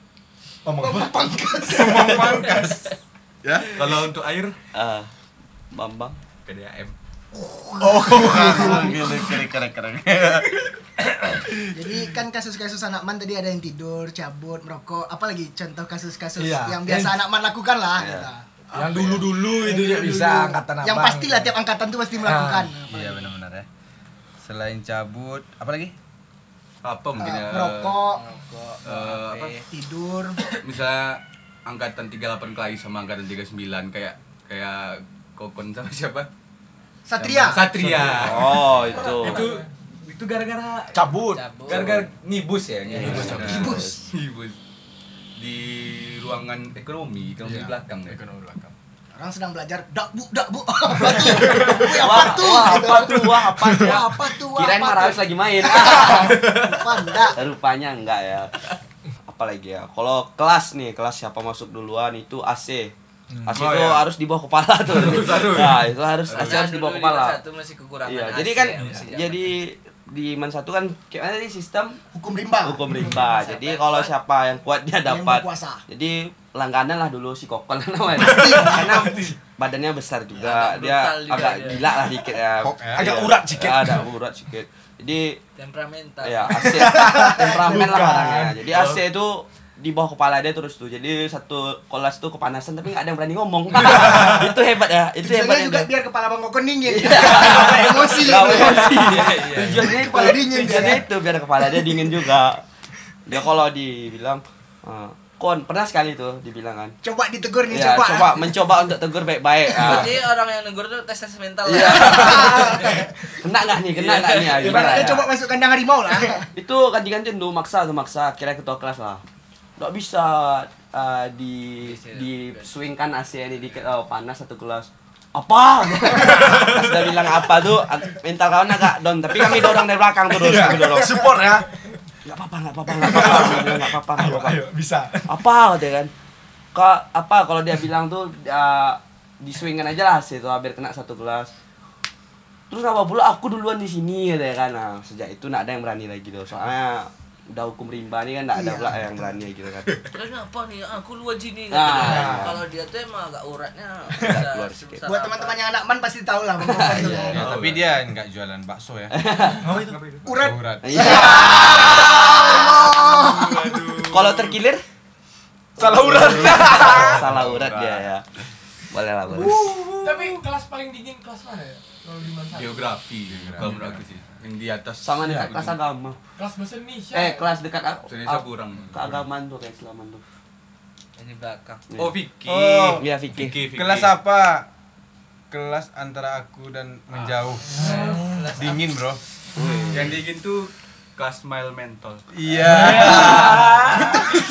Pamungkas.
Ya, kalau untuk air
Ah, Bambang
PDAM.
keren keren keren
Jadi kan kasus-kasus anak man tadi ada yang tidur, cabut, merokok, apalagi contoh kasus-kasus
Iya.
yang biasa anak man lakukan lah.
Iya.
kita.
Yang dulu-dulu itu ya
Dulu.
bisa angkatan abang.
Yang pastilah tiap angkatan tuh pasti melakukan.
iya benar-benar ya selain cabut apa lagi
Apa mungkin
Eh,
ya?
merokok,
Rokok,
Eh, apa?
HP.
tidur,
Misalnya angkatan 38 kelahi sama angkatan 39 kayak kayak Kokon sama siapa?
satria.
Satria.
oh itu
Itu itu gara-gara
Iya. cabut.
cabut
gara-gara ngibus ya ngibus
Ngibus.
ngibus di ruangan ekonomi ekonomi di belakang ya
ekonomi belakang
Orang sedang belajar dakbu dakbu. Apa tuh? Dakbu apa
Wah,
tuh? Gitu.
wah, apa tuh wah apa tuh
Wah, apa tuh? Wah,
kirain
apa
Marawis
tuh?
lagi main
Apa ndak?
Rupanya enggak ya. Apalagi ya. Kalau kelas nih, kelas siapa masuk duluan itu AC. AC
Oh,
itu
iya.
harus di bawah kepala tuh. Nah, itu harus AC
Karena
harus di bawah
dulu
kepala.
Liga Satu masih kekurangan.
Iya,
AC
jadi kan
ya, masih zaman
jadi di Man satu kan gimana sih sistem
Hukum rimba.
hukum rimba.
Siapa
Jadi
yang
kalau
kuat?
siapa yang kuat dia
Yang
dapat.
berkuasa.
Jadi langganan lah dulu si Kokol namanya. Karena badannya besar juga,
Agak
dia
brutal juga
agak
dia.
gila lah dikit ya.
Kok, ya?
Iya.
Agak urat dikit.
Ada urat dikit. Jadi
temperamental.
ya AC temperamen lah
Bukan.
orangnya. Jadi AC itu di bawah kepala dia terus tuh. Jadi satu kelas tuh kepanasan tapi nggak ada yang berani ngomong. itu hebat ya. Itu
Tujuannya
hebat
juga
ya.
biar kepala Bang Kokon dingin.
Iya.
Emosi. gitu.
Tujuannya itu,
Kepala dingin
tujuannya
dia.
itu biar kepala iya. dia dingin juga. Dia kalau dibilang "Ah, kon pernah sekali tuh dibilang kan.
Coba ditegur nih,
Ya,
coba.
coba mencoba untuk tegur baik-baik. Ah.
Jadi orang yang negur tuh tes tes mental lah.
Iya. Kena nggak nih? Kena nggak nih? Ah, gimana
Ibaratnya
ya? Iya.
coba masuk kandang harimau lah.
itu ganti-ganti dulu maksa tuh maksa kira ketua kelas lah nggak bisa eh, di di swingkan AC ini dikit oh, panas satu kelas apa Pas udah bilang apa tuh mental kawan agak down tapi kami dorong dari belakang
Iya.
terus kami dorong
Support ya.
nggak apa-apa nggak apa-apa nggak apa-apa Dia bilang, nggak apa-apa nggak apa-apa
bisa.
apa katanya kan Ka, apa kalau dia bilang tuh uh, diswingkan aja lah sih tuh hampir kena satu gelas terus apa pula aku duluan di sini katanya kan nah, sejak itu nggak ada yang berani lagi tuh soalnya udah hukum rimba nih kan nggak ada pula yang berani gitu kan
Terus apa nih? Aku luar sini.
Ah.
Nah. Kalau dia tuh emang agak uratnya. bisa
keluar sedikit.
sebesar
Buat
apa.
teman-teman yang anak man pasti tahu lah
Iya,
Bang Kokon tuh.
Ya, tapi dia nggak jualan bakso ya.
Urat.
Urat.
iya kalau terkilir
Salah urat.
salah urat dia ya boleh lah boleh
Tapi kelas paling dingin kelas mana ya? Kalau di mana?
Geografi, kalau menurut aku sih. Yang di atas
sama
Iya,
dekat kelas agama
Kelas bahasa Indonesia.
eh kelas dekat a-
Indonesia
a-
kurang.
keagamaan tuh kayak selaman tuh
Ini belakang.
Oh, Vicky.
Oh.
Iya, Vicky.
Kelas apa? Kelas antara aku dan menjauh. Dingin, Bro.
Yang dingin tuh kelas mile mental.
Iya.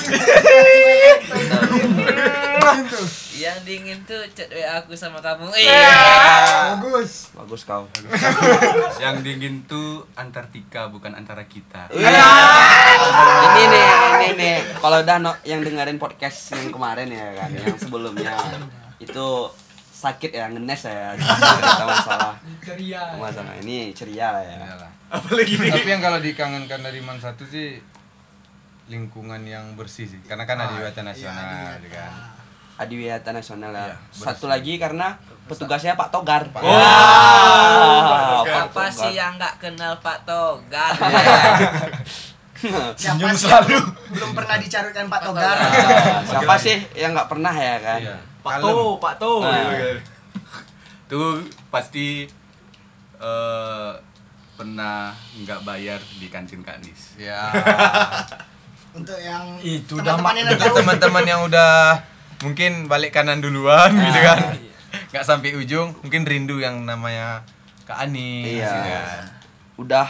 Iya, Yang dingin tuh chat WA aku sama kamu. Iya.
Bagus.
bagus kau
Yang dingin tuh Antartika bukan antara kita.
ini nih ini nih kalau udah no- yang dengerin podcast yang kemarin ya kan yang sebelumnya itu sakit ya ngenes ya cerita masalah
Ceria.
masalah ini ceria lah ya
Iyalah.
Apalagi nih.
Tapi yang kalau dikangenkan dari Man satu sih lingkungan yang bersih sih. Karena kan
Ah,
ada Adiwata
iya,
Nasional gitu kan. juga.
adiwiyata nasional ya
Iya, bersih.
satu lagi karena petugasnya Pak Togar
Pak
Wah,
Togar.
Pak
Apa
Togar.
sih yang nggak kenal Pak Togar?
Siapa selalu. Belum pernah dicarutkan Pak Togar.
Ah, siapa sih yang nggak pernah ya kan Nah,
Iya.
Pak
Kalem.
To Pak To
Tuh pasti eh, pernah nggak bayar di kantin Kak Nis.
Ya.
Untuk yang
Itu dah,
teman-teman yang
Dekat
tahu.
teman-teman yang udah mungkin balik kanan duluan gitu kan. Nggak sampai ujung, mungkin rindu yang namanya Kak Ani.
Iya.
gitu kan.
udah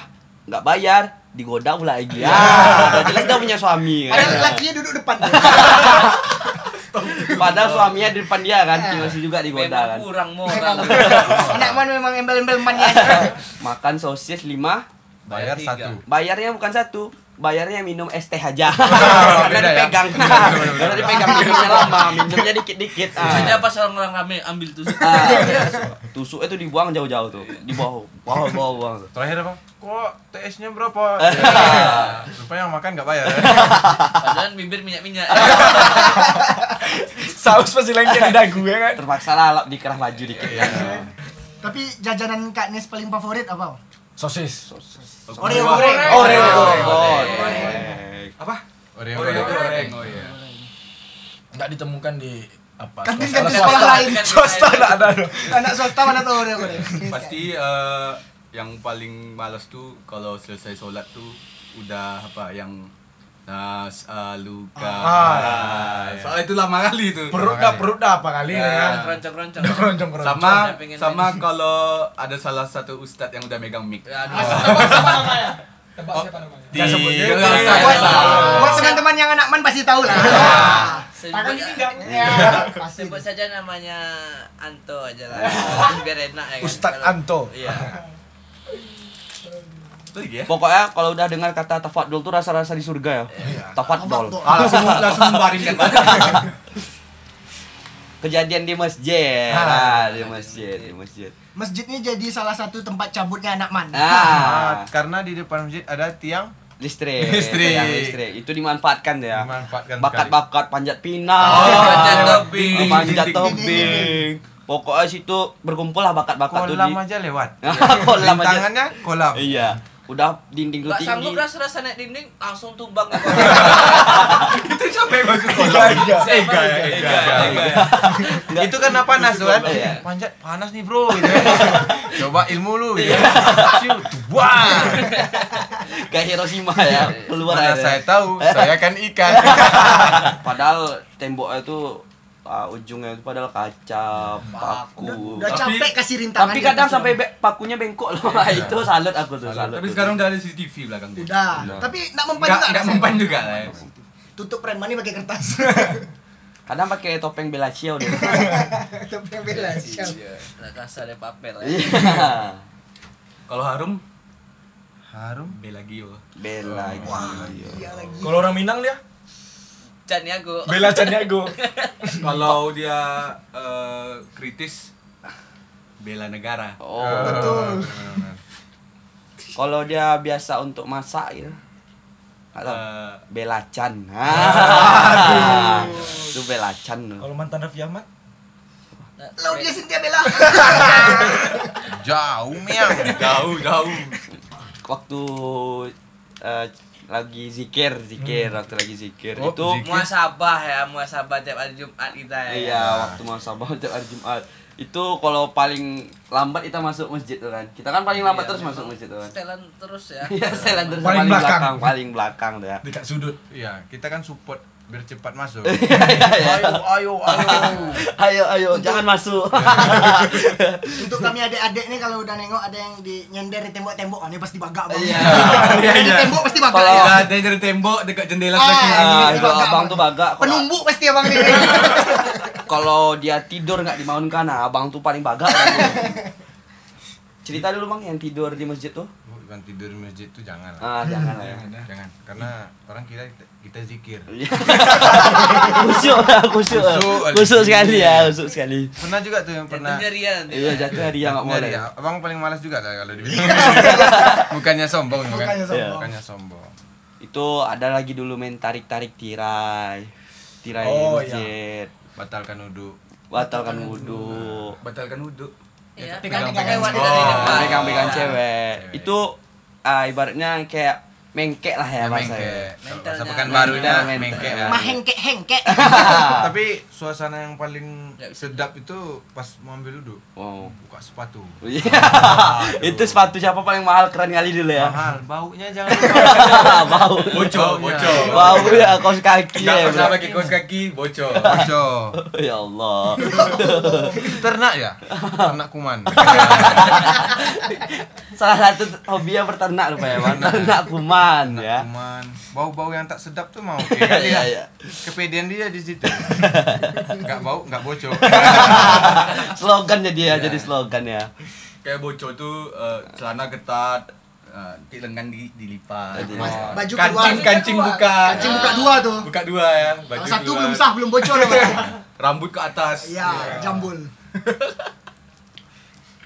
nggak bayar digoda pula lagi
Iya.
ya udah jelas dia punya suami kan
Ada lakinya duduk depan. tuh.
Padahal suaminya di depan dia kan, masih juga digoda
Memang
kan.
kurang
Memang.
moral.
Anak man memang embel-embel mannya aja.
Makan sosis 5,
Bayar
Bayar satu.
bayarnya bukan satu, bayarnya minum es teh aja.
beda
Karena
ya?
dipegang. Karena dipegang minumnya lama, minumnya dikit-dikit.
Jadi
Iya.
Ah.
pas orang rame ambil tusuk.
Ah, tusuk itu dibuang jauh-jauh tuh, di bawah, bawah, bawah, bawah. tuh.
Terakhir apa? Kok TS-nya berapa? Rupanya yang makan nggak bayar.
Padahal bibir minyak-minyak.
Saus pasti lengket di dagu ya kan?
Terpaksa lalap dikerah laju dikit. kan.
Tapi jajanan Kak Nis paling favorit apa?
Sosis.
Oreo Oh, iya, goreng.
Oh,
Oreo goreng.
Iya,
Apa?
Oreo
Oreo
goreng.
goreng. Oh iya.
Nggak ditemukan di apa?
Kantin
swasta-
Iya,
kantin sekolah
kan?
lain.
Swasta
Tidak ada dong.
Anak swasta mana tahu Oreo goreng.
Pasti eh, yang paling malas tuh kalau selesai sholat tuh udah apa yang nas aluka. Soalnya itu lama kali tuh.
Perut dah, perut dah apa kali ya kan?
Keroncong-keroncong.
Keroncong-keroncong.
sama
Saya pengen
sama kalau ada salah satu ustadz yang udah megang mic.
Ya, aduh.
Tebak siapa namanya? Tebak siapa namanya?
Di Gak usah,
Buat,
gak usah.
buat teman-teman yang anak man pasti tahu lah. Tangan ini enggak. Ya, pasti.
Sebut saja namanya Anto aja lah. Biar enak ya kan.
Ustadz
Kalau-
Anto.
Iya.
Itu lagi ya.
Pokoknya kalau udah dengar kata tafadul tuh rasa-rasa di
Iya,
surga ya. Tafadul.
Tafadul.
kan.
Ah, langsung langsung baringkan.
kejadian di masjid. Ah, di masjid, di masjid.
Masjidnya jadi salah satu tempat cabutnya anak man.
Ah,
karena di depan masjid ada tiang
listrik.
Listrik.
Tiang listrik. Itu dimanfaatkan ya.
Dimanfaatkan
Bakat-bakat panjat pinang,
Oh,
panjat
panjat
tebing,
tebing.
panjat
Dinding,
tebing. Pokoknya situ berkumpul lah bakat-bakat tuh
kolam
di
aja lewat.
kolam aja.
Tangannya kolam.
Iya. Udah dinding lu
Gak
tinggi.
sanggup rasa rasa naik dinding langsung tumbang ke
Itu siapa yang masuk
Ega, ega,
Ega,
ega,
ega. Enggak.
Itu karena panas tuh kan.
Iya.
Panjat panas nih bro. gitu. Coba ilmu lu. Ya.
Iya.
Ciu, Wah.
Kayak Hiroshima ya, keluar
Mana
airnya.
saya tahu, saya kan ikan.
Padahal temboknya tuh ah, ujungnya itu padahal kaca, paku.
Udah
Tapi-
capek kasih rintangan.
Tapi
di
kadang
atas
sampai
orang.
be- pakunya bengkok loh. itu salut aku tuh, salut.
Tapi sekarang udah ada CCTV belakang dia.
Udah.
Udah.
Tapi enggak mempan
Nggak,
juga.
nggak
rasanya.
mempan juga lah ya.
Tutup preman ini pakai kertas.
Kadang pakai topeng bela Ciao deh.
Tapi yang bela. sial.
Lah kasar dari papel ya.
Iya.
Kalau harum,
Harum.
bela Gio.
bela gitu. Ciao.
Iya lagi.
Kalau orang Minang dia,
Can ya gua.
Bella Caniago.
Kalau dia eh, kritis, bela negara.
Oh.
Betul.
Kalau dia biasa untuk masak gitu. Atau
Eh,
bela Chan. Ah. Itu bela Chan tuh.
Kalau mantan Raffi Ahmad,
Nah,
Lalu dia Cynthia Bella.
Jauh miang.
jauh, jauh.
waktu eh, lagi zikir zikir waktu lagi zikir
Oh,
itu
zikir.
muasabah ya, muasabah tiap hari Jumat kita ya.
iya waktu muasabah tiap hari Jumat itu kalau paling lambat kita masuk masjid tuh kan kita kan paling lambat
Iya,
terus masuk
memang
masjid tuh kan
Setelan terus ya.
iya selan terus
Paling
paling
belakang.
belakang paling belakang tuh ya
dekat sudut.
Iya, kita kan support biar cepat masuk.
iya.
ayo, ayo, ayo.
ayo ayo jangan masuk
Untuk kami adik-adik nih kalau udah nengok ada yang di nyender di tembok-tembok, ah, ini pasti bagak banget.
Iya.
Yang di
Iya.
tembok pasti bagak.
Kalau-
ya.
Kita ada dari tembok dekat jendela
Ah,
lagi.
ini
Ah,
pasti
itu abang tuh bagak. Kalau-
Penumbu pasti abang ini.
kalau dia tidur nggak dibangunkan nah abang tuh paling bagak kan, tuh. cerita dulu bang yang tidur di masjid tuh
Oh, Bukan tidur di masjid itu jangan lah. Iya,
ah jangan Iya. lah ya
Jangan, karena orang kira kita, kita zikir.
kusuk kusuk
Kusuk.
kusuk sekali ya kusuk sekali
Pernah juga tuh yang pernah.
Tentunya Ria nanti.
iya jatuh hari yang nggak
Bener
boleh
ya, abang paling malas juga lah kalau dibilang. Bukannya sombong, bukan?
Bukannya sombong.
Bukannya sombong.
itu ada lagi dulu main tarik tarik tirai tirai
Oh, iya.
masjid
Batalkan wudhu.
batalkan wudhu
Batalkan wudhu.
Iya.
Pegang-pegangan
Lewat
cewek.
Oh,
dari depan.
pegang pegang
Cewek.
cewek itu ah, ibaratnya kayak mengkek lah ya
Ya,
bahasanya
mengke. Kalau bahasa
Mentalnya.
pekan barunya
Mental,
mengke.
ah.
mental.
lah.
Mahengkek-hengkek.
Tapi suasana yang paling
Ya,
Nggak bisa.
sedap itu pas mau ambil wudhu.
wow
Buka sepatu.
Iya. itu sepatu siapa paling mahal keren kali dulu ya
Mahal, baunya jangan lupa.
bau
Bocor, bocor.
bau ya kaos kaki
Nggak
ya
pernah
bro.
pakai kaos kaki, bocor.
Bocor.
ya Allah
Ternak ya? Ternak kuman.
salah satu hobinya berternak rupanya bang ternak kuman ya
Kuman. Bau-bau yang tak sedap tuh mau. Oke, kan?
Iya, iya.
Kepedean dia di situ. Enggak bau, enggak bocor.
slogannya dia jadi slogan ya
Kayak bocor tuh eh, celana ketat, eh, nanti lengan di, dilipat.
Jadi,
Mas-
oh.
Baju keluar.
kancing kancing buka. Eh,
Kancing buka dua tuh.
Buka dua ya. Baju
Kalau satu
keluar.
belum sah, belum bocor.
Rambut ke atas.
Iya, jambul.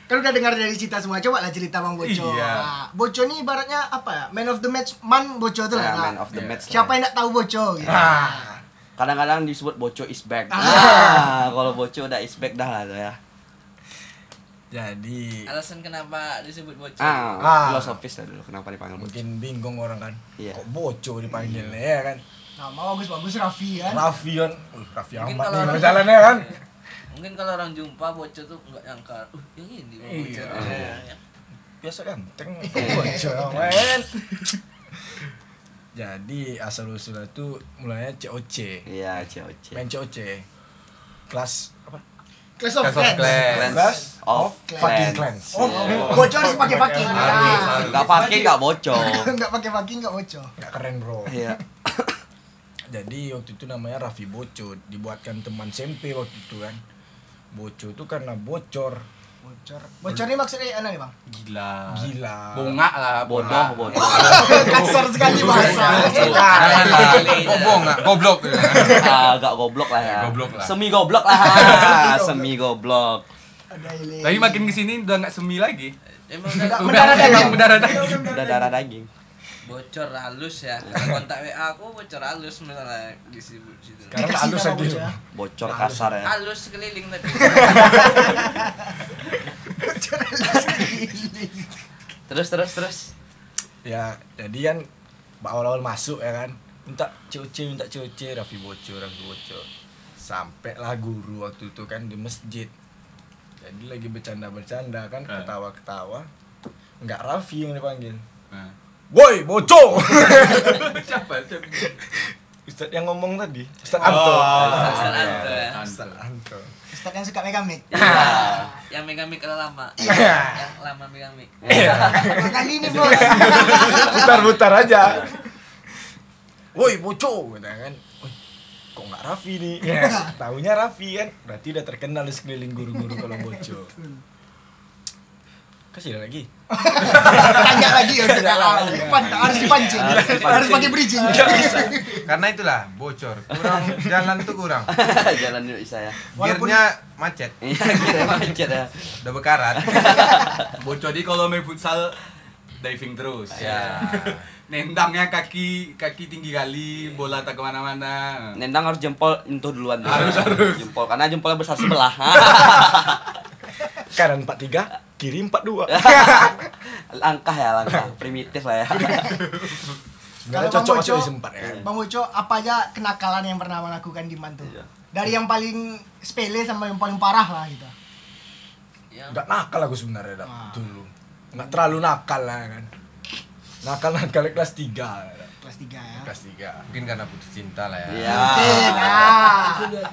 Kan udah dengar dari cerita semua, coba lah cerita Bang Boco.
Iya.
Nah, Boco ini ibaratnya apa ya? Man of the match, man Boco tuh
Nah,
lah.
man
Kak.
of the match
Siapa
lah.
yang tak tahu Boco gitu.
Nah,
kadang-kadang disebut boco is back ah, kalau boco udah is back dah lah tuh ya
Jadi
Alasan kenapa disebut bocor?
ah,
Ah.
filosofis lah dulu kenapa dipanggil boco
mungkin bingung orang kan.
Iya.
Kok boco dipanggil ya kan?
Nama Nah, bagus-bagus Raffi kan.
Raffi kan. Uh, Raffi
Mungkin
Ahmad
kalau
nih
orang-
jalannya kan.
Mungkin kalau orang jumpa bocor tuh enggak nyangka, uh, yang ini Bang bocor. Iya.
Biasa ganteng. Boco kan. Jadi asal usulnya itu mulanya COC.
iya COC
Main COC. Kelas apa?
Clash of
Clash of
Clans.
Clans.
Kelas
of
fucking
clan
clans.
Oh, Boco harus pakai fucking.
Harus,
Nah.
harus.
nggak pakai nggak boco
Enggak pakai fucking enggak Boco.
Nggak keren bro.
iya
Jadi waktu itu namanya Raffi Boco, dibuatkan teman SMP waktu itu kan. Boco itu karena bocor.
Bocor. Bocor ini maksudnya anak nih bang?
Gila.
Gila.
Bongak lah,
bodoh
bongak.
bodoh
Kasar sekali bahasa.
Jangan lah, gobong nggak? Goblok.
Ah, agak goblok lah ya
Ya, goblok lah.
semi goblok lah semi goblok
Ada ini.
Tapi makin kesini udah nggak semi lagi.
Emang udah
Udah, mendadak ya, Bang?
Mendadak lagi.
udah darah daging
bocor halus ya. Karena kontak WA aku bocor halus misalnya di situ. situ.
Sekarang
Dikasih
halus
nama
aja.
bocor.
bocor kasar ya
Halus keliling tapi.
Bocor halus keliling.
terus terus terus
ya jadi kan awal-awal masuk ya kan minta cuci minta cuci Raffi bocor Raffi bocor sampai lah guru waktu itu kan di masjid jadi lagi bercanda-bercanda kan
Ah.
ketawa-ketawa nggak Raffi yang dipanggil
Nah.
woi bocor
Siapa? Siapa?
Ustadz yang ngomong tadi Ustadz Anto
Oh.
Anto ya.
Ustadz Anto
Ustaz yang suka megang mic.
Nah, Yang megang mic kalau lama.
Iya.
Yang lama megang mic.
Eh,
Dua Nah, kali ini bos.
putar-putar aja woi bocor gitu kan Woi, kok nggak Raffi nih
Ya.
tahunya Raffi kan berarti udah terkenal di sekeliling guru-guru kalau bocor kasih lagi
Tanya lagi ya. Ustaz.
Tanya lagi.
Pan- Harus dipancing.
Harus dipancing.
Harus pakai bridging.
Karena itulah bocor. Kurang jalan tuh kurang.
jalan yuk saya
Walaupun-
Gearnya macet,
iya kira macet ya
udah bekarat.
Bocor di kalau main futsal diving terus.
Ya.
Nendangnya kaki kaki tinggi kali,
Iya.
bola tak kemana-mana.
nendang harus jempol entuh duluan dulu.
Harus, harus.
jempol karena jempolnya besar sebelah
kanan 43 kiri 42
langkah ya langkah primitif lah ya
sebenarnya
Kalau
cocok
Bang
masuk
Ojo-
di sempat ya kan
Bang Uco, apa aja kenakalan yang pernah abang lakukan di Mantu? Dari yang paling sepele sampai yang paling parah lah gitu.
Yang
nggak nakal aku sebenarnya Dak,
Ah.
dulu nggak terlalu nakal lah ya kan nakal nakal kelas 3
Kelas 3 ya.
kelas 3
Mungkin karena putus cinta lah ya.
iya
Mungkin, ah.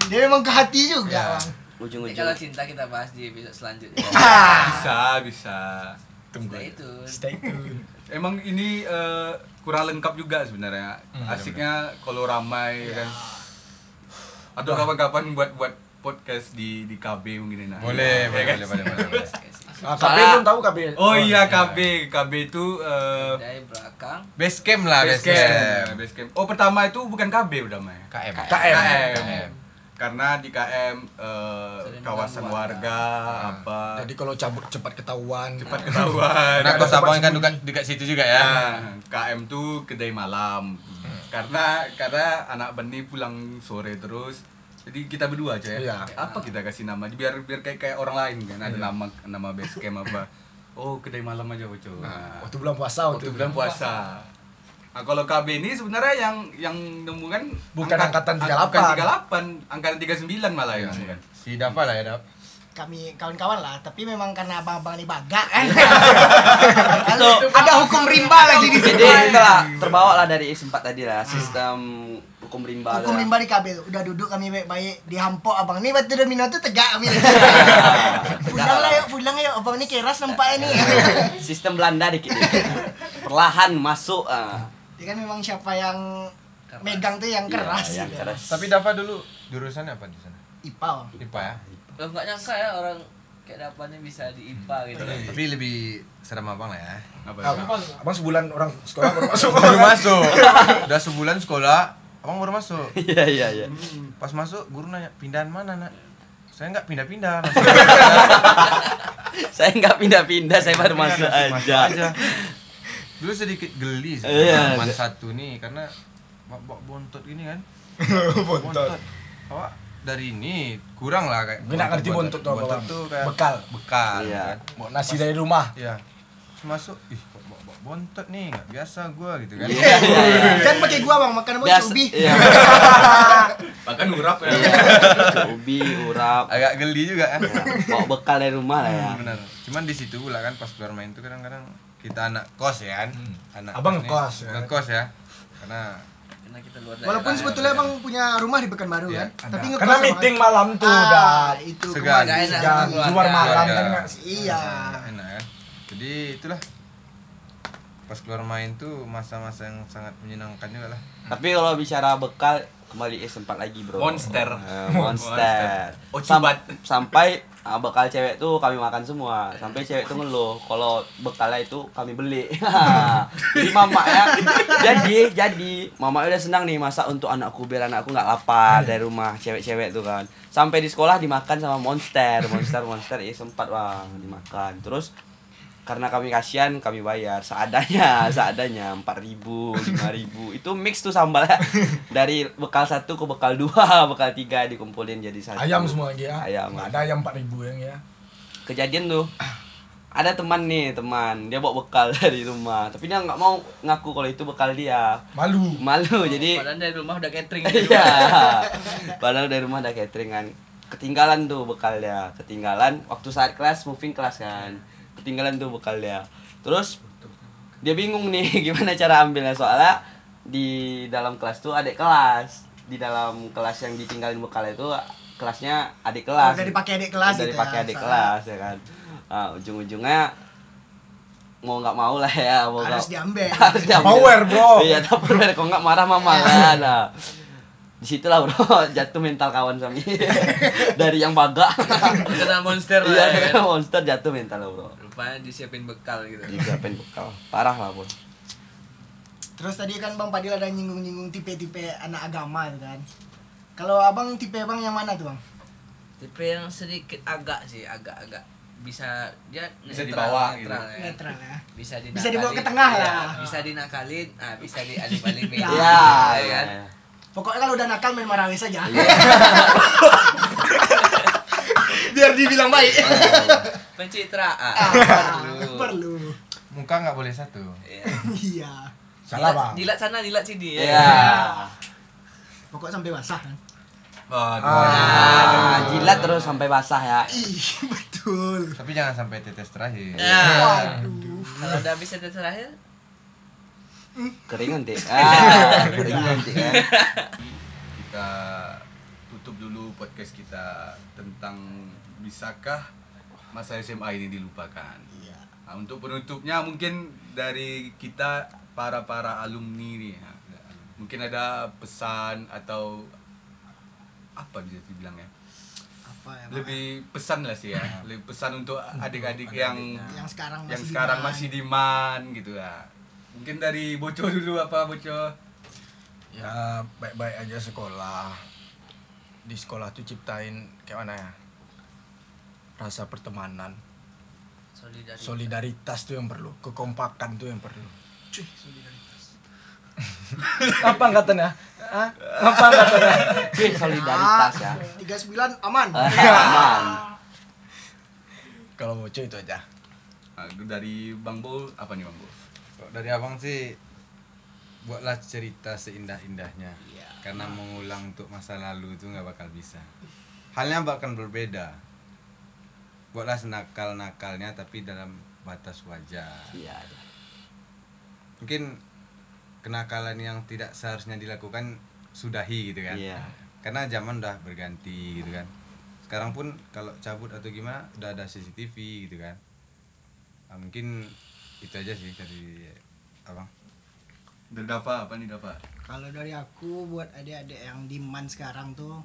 Dia memang ke hati juga,
Ya.
Bang.
Nanti
ujung-ujung
kalau cinta kita bahas di episode selanjutnya.
Iya.
Ah.
Bisa, bisa.
tunggu
Nah
aja.
itu.
stay tune
Emang ini eh, kurang lengkap juga sebenarnya.
Hmm,
Asiknya kalau ramai
Ya.
kan. Atau kapan-kapan buat buat podcast di di KB mungkin enak.
Boleh,
Ya
boleh,
kan?
boleh, boleh, boleh, boleh.
ah, KB belum tahu KB
Oh iya KB, KB itu eh,
Dari belakang.
Base camp lah, Ya, base
Basecamp.
camp.
Basecamp. Oh pertama itu bukan KB utamanya.
KM.
KM.
KM. Karena di KM eh,
Sering
kawasan
mengganggu
warga
ya.
apa
jadi kalau cabut cepat ketahuan
cepat ketahuan.
Nah, kos abang kan dekat dekat situ juga ya.
Nah, KM tuh kedai malam. Karena karena anak Beni pulang sore terus. Jadi kita berdua aja ya.
Iya.
Apa kita kasih nama? Biar biar kayak kayak orang lain kan ada nama nama basecamp apa. Oh, kedai malam aja, Boco. Nah,
waktu Oh, bulan puasa
waktu bulan puasa. Nah, kalau KB ini sebenarnya yang yang nemu kan
Bukan angkatan
Bukan 38,
38.
angkatan 39 malah ya. bukan.
Si Dafa lah ya, Dap.
Kami kawan-kawan lah, tapi memang karena abang-abang ini baga kan.
Itu.
Ada hukum rimba lagi di sini.
jadi itulah terbawa lah dari sempat tadi lah sistem hukum rimba
Hukum
lah.
rimba di KB tuh. Udah duduk kami baik-baik dihampok abang. Nih batu domino tuh tegak kami. pulang lah yuk, pulang yuk. Abang ini keras nampaknya nih.
sistem Belanda dikit perlahan masuk ah.
ya kan memang siapa yang megang tuh yang keras.
Iya, yang
gitu.
keras
Tapi Dafa dulu jurusannya apa di sana?
IPA. Bang.
IPA ya.
Lo nggak nyangka ya orang kayak dapatnya bisa di IPA gitu.
Tapi lebih serem abang lah ya.
Apa
Iya.
Ah,
itu?
abang sebulan orang sekolah baru masuk
Baru masuk. Udah sebulan sekolah, abang baru masuk.
iya iya iya
Pas masuk guru nanya pindahan mana nak? Saya nggak pindah-pindah.
saya nggak pindah-pindah saya baru masuk
Masuk
aja
Dulu sedikit geli sih.
Iya.
Man satu nih karena bak bak bontot gini kan.
bontot
Awak dari ini kurang lah kayak.
gue nggak ngerti bontot tuh
Bontot
abang
tuh kayak
bekal
bekal.
Iya.
kan.
mau nasi dari rumah
Iya. Terus masuk, ih bak bak bak bontot nih nggak biasa gua gitu kan.
Iya, iya, iya.
Kan pakai gua bang, makan mau
Biasa-
ubi.
iya.
Bahkan urap ya.
ubi urap
Agak geli juga kan.
ya, bawa bekal dari rumah lah ya
Benar. Cuman di situ pula kan pas keluar main tuh kadang-kadang kita anak kos ya kan. Anak
Abang
nih,
ngekos ya.
Ngekos ya. Karena
Karena kita luar daerah.
Walaupun sebetulnya bang punya rumah di Pekanbaru
Iya,
kan, tapi ngekos
karena
sama-
Nah, meeting malam tuh
Ah,
udah
itu
Segan.
kemarin. Iya.
dan
Segan. Keluarga.
iya.
keluar malam kan
Nah, Keluarga.
nggak
Iya.
enak kan. Jadi itulah ya. pas keluar main tuh masa-masa yang sangat menyenangkan juga lah
Tapi kalau bicara bekal kembali S4 lagi, Bro.
Monster.
Eh, monster.
Monster. Ocubat.
Sam- sampai ah, bekal cewek tuh kami makan semua. Sampai cewek tuh ngeluh kalau bekalnya itu kami beli. jadi mamanya jadi jadi mamanya udah senang nih masak untuk anakku biar anakku nggak lapar dari rumah cewek-cewek tuh kan. Sampai di sekolah dimakan sama monster, monster, monster S4 bang dimakan. Terus karena kami kasihan kami bayar seadanya seadanya empat ribu lima ribu itu mix tuh sambalnya dari bekal satu ke bekal dua bekal tiga dikumpulin jadi satu
Ayam semua lagi ya.
Ayam.
Nggak ada ayam 4000 yang ya.
kejadian tuh ada teman nih teman dia bawa bekal dari rumah tapi dia nggak mau ngaku kalau itu bekal dia
Malu.
malu jadi
Padahal dari rumah udah catering.
Iya. Padahal dari rumah ada catering kan. Ketinggalan tuh bekalnya, ketinggalan waktu saat kelas moving kelas kan. Ketinggalan tuh bekalnya. Terus dia bingung nih gimana cara ambilnya soalnya di dalam kelas tuh adik kelas. Di dalam kelas yang ditinggalin bekalnya itu kelasnya adik
Oh,
kelas.
udah dipakai adik kelas
Udah
gitu
dipakai
ya,
adik
soalnya.
kelas ya kan. Ah, ujung-ujungnya mau nggak mau lah ya mau
Harus
nggak-
diambil.
harus diambil.
Tupperware, bro.
iya tupperware kok nggak marah mama lah nah disitulah bro jatuh mental kawan kami dari yang baga
Kena monster lah. ya
iya
kan.
monster jatuh mental lah bro
Rupanya disiapin bekal gitu.
disiapin bekal parah lah bro
Terus tadi kan Bang Padil ada nyinggung-nyinggung tipe-tipe anak agama gitu kan. Kalau Abang tipe Bang yang mana tuh Bang?
Tipe yang sedikit agak sih, agak-agak bisa dia
Bisa
netral,
dibawa
gitu.
netral, ya.
Netral ya.
Bisa dinakalin.
Bisa dibawa ke tengah
Iya,
lah.
Bisa dinakalin, ah bisa dialih-alihin.
Iya,
iya
ya
iya
kan?
Pokoknya kalau udah nakal main marawi saja. Biar dibilang baik.
Pencitraan.
Ah,
Perlu.
perlu.
muka nggak boleh satu
Iya.
Iya.
Salah,
Jilat-
Bang.
Jilat sana, jilat sini ya.
Iya.
Pokok sampai basah kan.
Iya.
Ah, jilat terus sampai basah ya
Ih, betul.
tapi jangan sampai tetes terakhir
Nah,
Aduh.
kalau udah bisa di terakhir,
kering nanti ah kering nanti kan
kita tutup dulu podcast kita tentang bisakah masa SMA ini dilupakan.
Iya.
Nah, untuk penutupnya mungkin dari kita para para alumni nih, ya. mungkin ada pesan atau apa bisa dibilang ya?
Apa ya? Bang?
Lebih pesan lah sih ya,
Iya.
lebih pesan untuk adik-adik yang
ya.
yang sekarang masih
yang sekarang
di mana?
masih di man gitu ya. Mungkin dari Boco dulu apa Boco?
Ya baik-baik aja sekolah. Di sekolah tuh ciptain kayak mana ya? Rasa pertemanan,
solidaritas.
solidaritas tuh yang perlu, kekompakan tuh yang perlu.
Cuy, solidaritas.
Apa ya? angkatannya? Hah? Apa angkatannya?
Cuy, solidaritas ya
39 aman.
aman
Kalau bocor itu aja.
Nah, dari Bang Bo apa nih Bang Bo?
Kalau dari abang sih buatlah cerita seindah-indahnya
Iya.
karena mengulang untuk masa lalu itu nggak bakal bisa halnya bahkan berbeda buatlah senakal nakalnya tapi dalam batas wajar
iya iya.
mungkin kenakalan yang tidak seharusnya dilakukan sudahi gitu kan
Iya.
karena zaman udah berganti gitu kan sekarang pun kalau cabut atau gimana udah ada CCTV gitu kan Ah, mungkin itu aja sih dari abang
Dari Dava apa nih Dava?
Kalau dari aku buat adik-adik yang diman sekarang tuh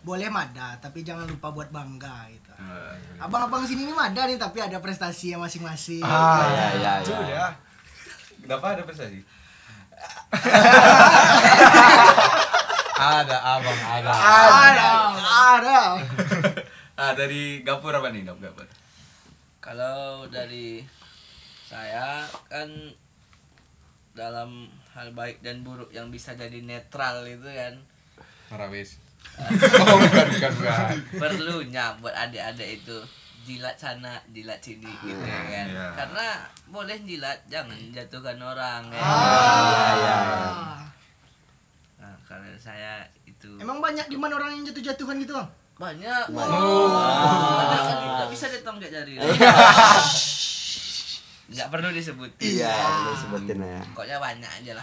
boleh mada tapi jangan lupa buat bangga gitu.
Ah, iya.
Abang-abang sini ini mada nih tapi ada prestasi yang masing-masing.
Ah,
iya iya iya
Dava ya. ada prestasi?
ada abang ada
Ada, ada.
Ah dari Gapur apa nih Dap Gapur?
Kalau dari saya kan dalam hal baik dan buruk yang bisa jadi netral itu kan
Marawis. oh, bukan, bukan, bukan.
perlunya buat adik-adik itu jilat sana jilat sini gitu ya kan
iya.
karena boleh jilat jangan jatuhkan orang ya.
Ah.
Iya,
Nah, kalau saya itu
Emang banyak diman orang yang jatuh-jatuhan gitu, Bang?
banyak wow. Banyak kan, nggak bisa ditong kayak jari nggak perlu disebutin
iya lu sebutin ya
pokoknya banyak aja lah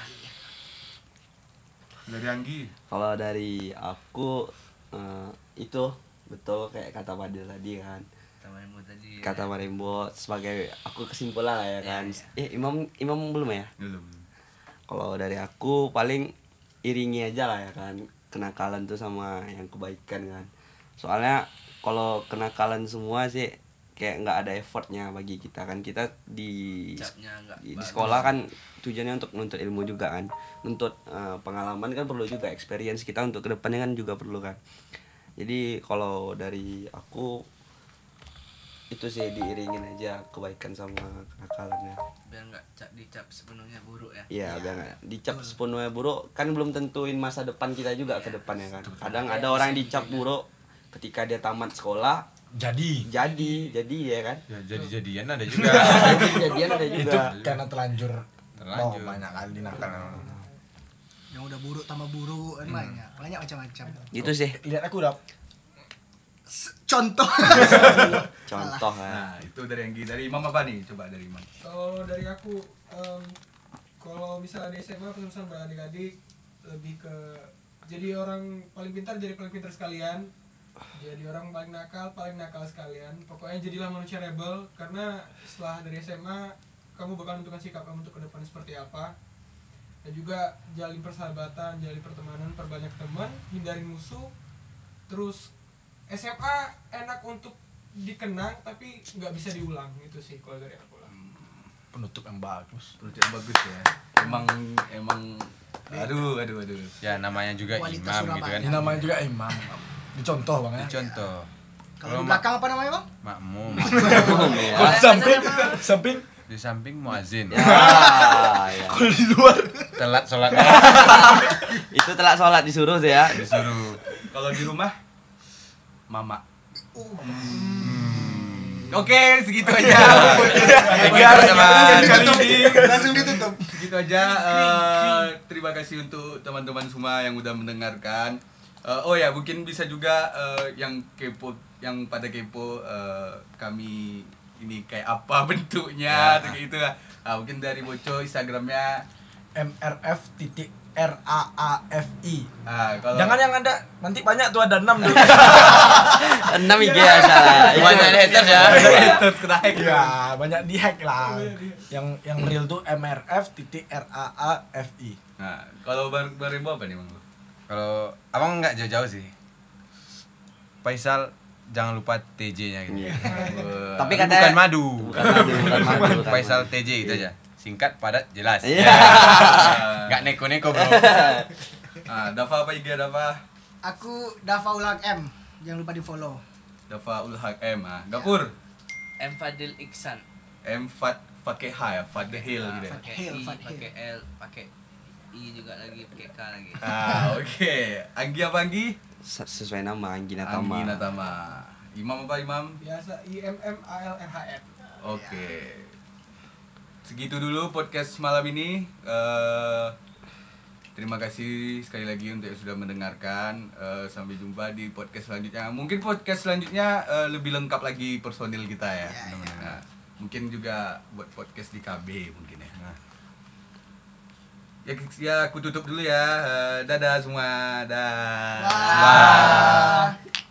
Dari Anggi.
kalau dari aku eh, itu betul kayak kata Padil tadi kan
kata Marimo tadi ya.
kata Marembo sebagai aku
Iya,
kesimpulan lah ya kan. Eh Imam Imam belum ya?
belum
Kalau dari aku paling iringi aja lah ya kan kenakalan tuh sama yang kebaikan kan. Soalnya kalau kenakalan semua sih kayak nggak ada effortnya bagi kita kan kita di
Capnya nggak
di, di
bagus.
sekolah kan tujuannya untuk nuntut ilmu juga kan nuntut eh, pengalaman kan perlu juga experience kita untuk kedepannya kan juga perlu kan jadi kalau dari aku itu sih diiringin aja kebaikan sama kenakalannya
biar nggak cap dicap sepenuhnya buruk ya
Iya, biar nggak- dicap sepenuhnya buruk kan belum tentuin masa depan kita juga ke depannya kan. Kadang ada orang yang dicap buruk ketika dia tamat sekolah
Jadi.
jadi jadi ya kan.
Ya, jadi-jadian ada juga.
Jadi kejadian ada
itu
juga.
Iya.
karena terlanjur mau
Terlanjur.
banyak kali nah, nakal
yang udah buruk tambah buruk
Hmm.
kan banyak banyak macam-macam
Gitu sih
lihat aku udah
S- contoh
contoh ya.
nah
lah.
itu dari Enggi dari Imam apa nih coba dari Imam
Kalau dari aku, em, kalau misalnya di SMA pesan-pesan buat adik-adik lebih ke jadi orang paling pintar jadi paling pintar sekalian, jadi orang paling nakal paling nakal sekalian. Pokoknya jadilah manusia rebel karena setelah dari SMA kamu bakal menentukan sikap kamu untuk ke depan seperti apa. Dan juga jalin persahabatan, jalin pertemanan, perbanyak teman, hindarin musuh. Terus SMA enak untuk dikenang tapi nggak bisa diulang itu sih kalau dari aku lah.
penutup yang bagus
Menurut yang bagus ya emang emang aduh aduh aduh
Ya namanya juga
Kualitas
imam gitu
Surabaya.
kan.
Iya. ini namanya juga imam dicontoh bang ya
Contoh.
kalau di
mak-
belakang apa namanya bang
makmum
samping samping
di samping muazin.
Ah, ya.
kalau di luar
Telat sholat
Nah,
Itu telat sholat disuruh sih ya.
disuruh.
kalau di rumah mama
Hmm.
Oke, segitu aja. Segitu teman.
Kali ini
langsung ditutup
gitu aja eh, terima kasih untuk teman-teman semua yang udah mendengarkan Eh, oh ya mungkin bisa juga eh, yang kepo yang pada kepo eh, kami ini kayak apa
Ya.
bentuknya atau kayak gitu lah. Ah, mungkin dari Boco Instagramnya
mrf titik r a a f i
ah, kalau
jangan yang ada nanti banyak tuh ada enam tuh
Enam IG ya salah.
Banyak haters ya.
Iya.
Haters kena hack. Oh, iya,
ya banyak dihack lah yang yang real tuh mrf titik r a a f i
Nah, kalau bar barembo apa nih Mang?
Kalau abang nggak jauh-jauh sih. Faisal jangan lupa TJ-nya gitu.
Wah,
Iya. Tapi
Tapi
katanya-
bukan madu.
Bukan madu, bukan madu, bukan madu.
Faisal TJ gitu aja. Singkat, padat, jelas.
Iya.
Eh,
Nggak neko-neko, Bro.
ah, Dafa apa IG Dafa?
aku Dava Ulang M jangan lupa di follow
Dafa Ulhaq M ah. Gapur.
M Fadil Iksan
M Fat pakai H ya, Fadhil gitu. ya.
pakai
Fathil,
I
Fathil.
pakai L pakai I juga lagi pakai K lagi
Ah, oke. Anggi apa Anggi?
Se- Sesuai nama Anggi
Anggi
Natama.
Natama. Imam apa Imam?
biasa I E M M A L R H M
Oke. Segitu dulu podcast malam ini. Eh, terima kasih sekali lagi untuk yang sudah mendengarkan. Eh, sampai jumpa di podcast selanjutnya. Mungkin podcast selanjutnya eh, lebih lengkap lagi personil kita ya. Nah, mungkin juga buat podcast di KB mungkin ya. Ya, ya aku tutup dulu ya. Eh, dadah semua. Dah.
Dah.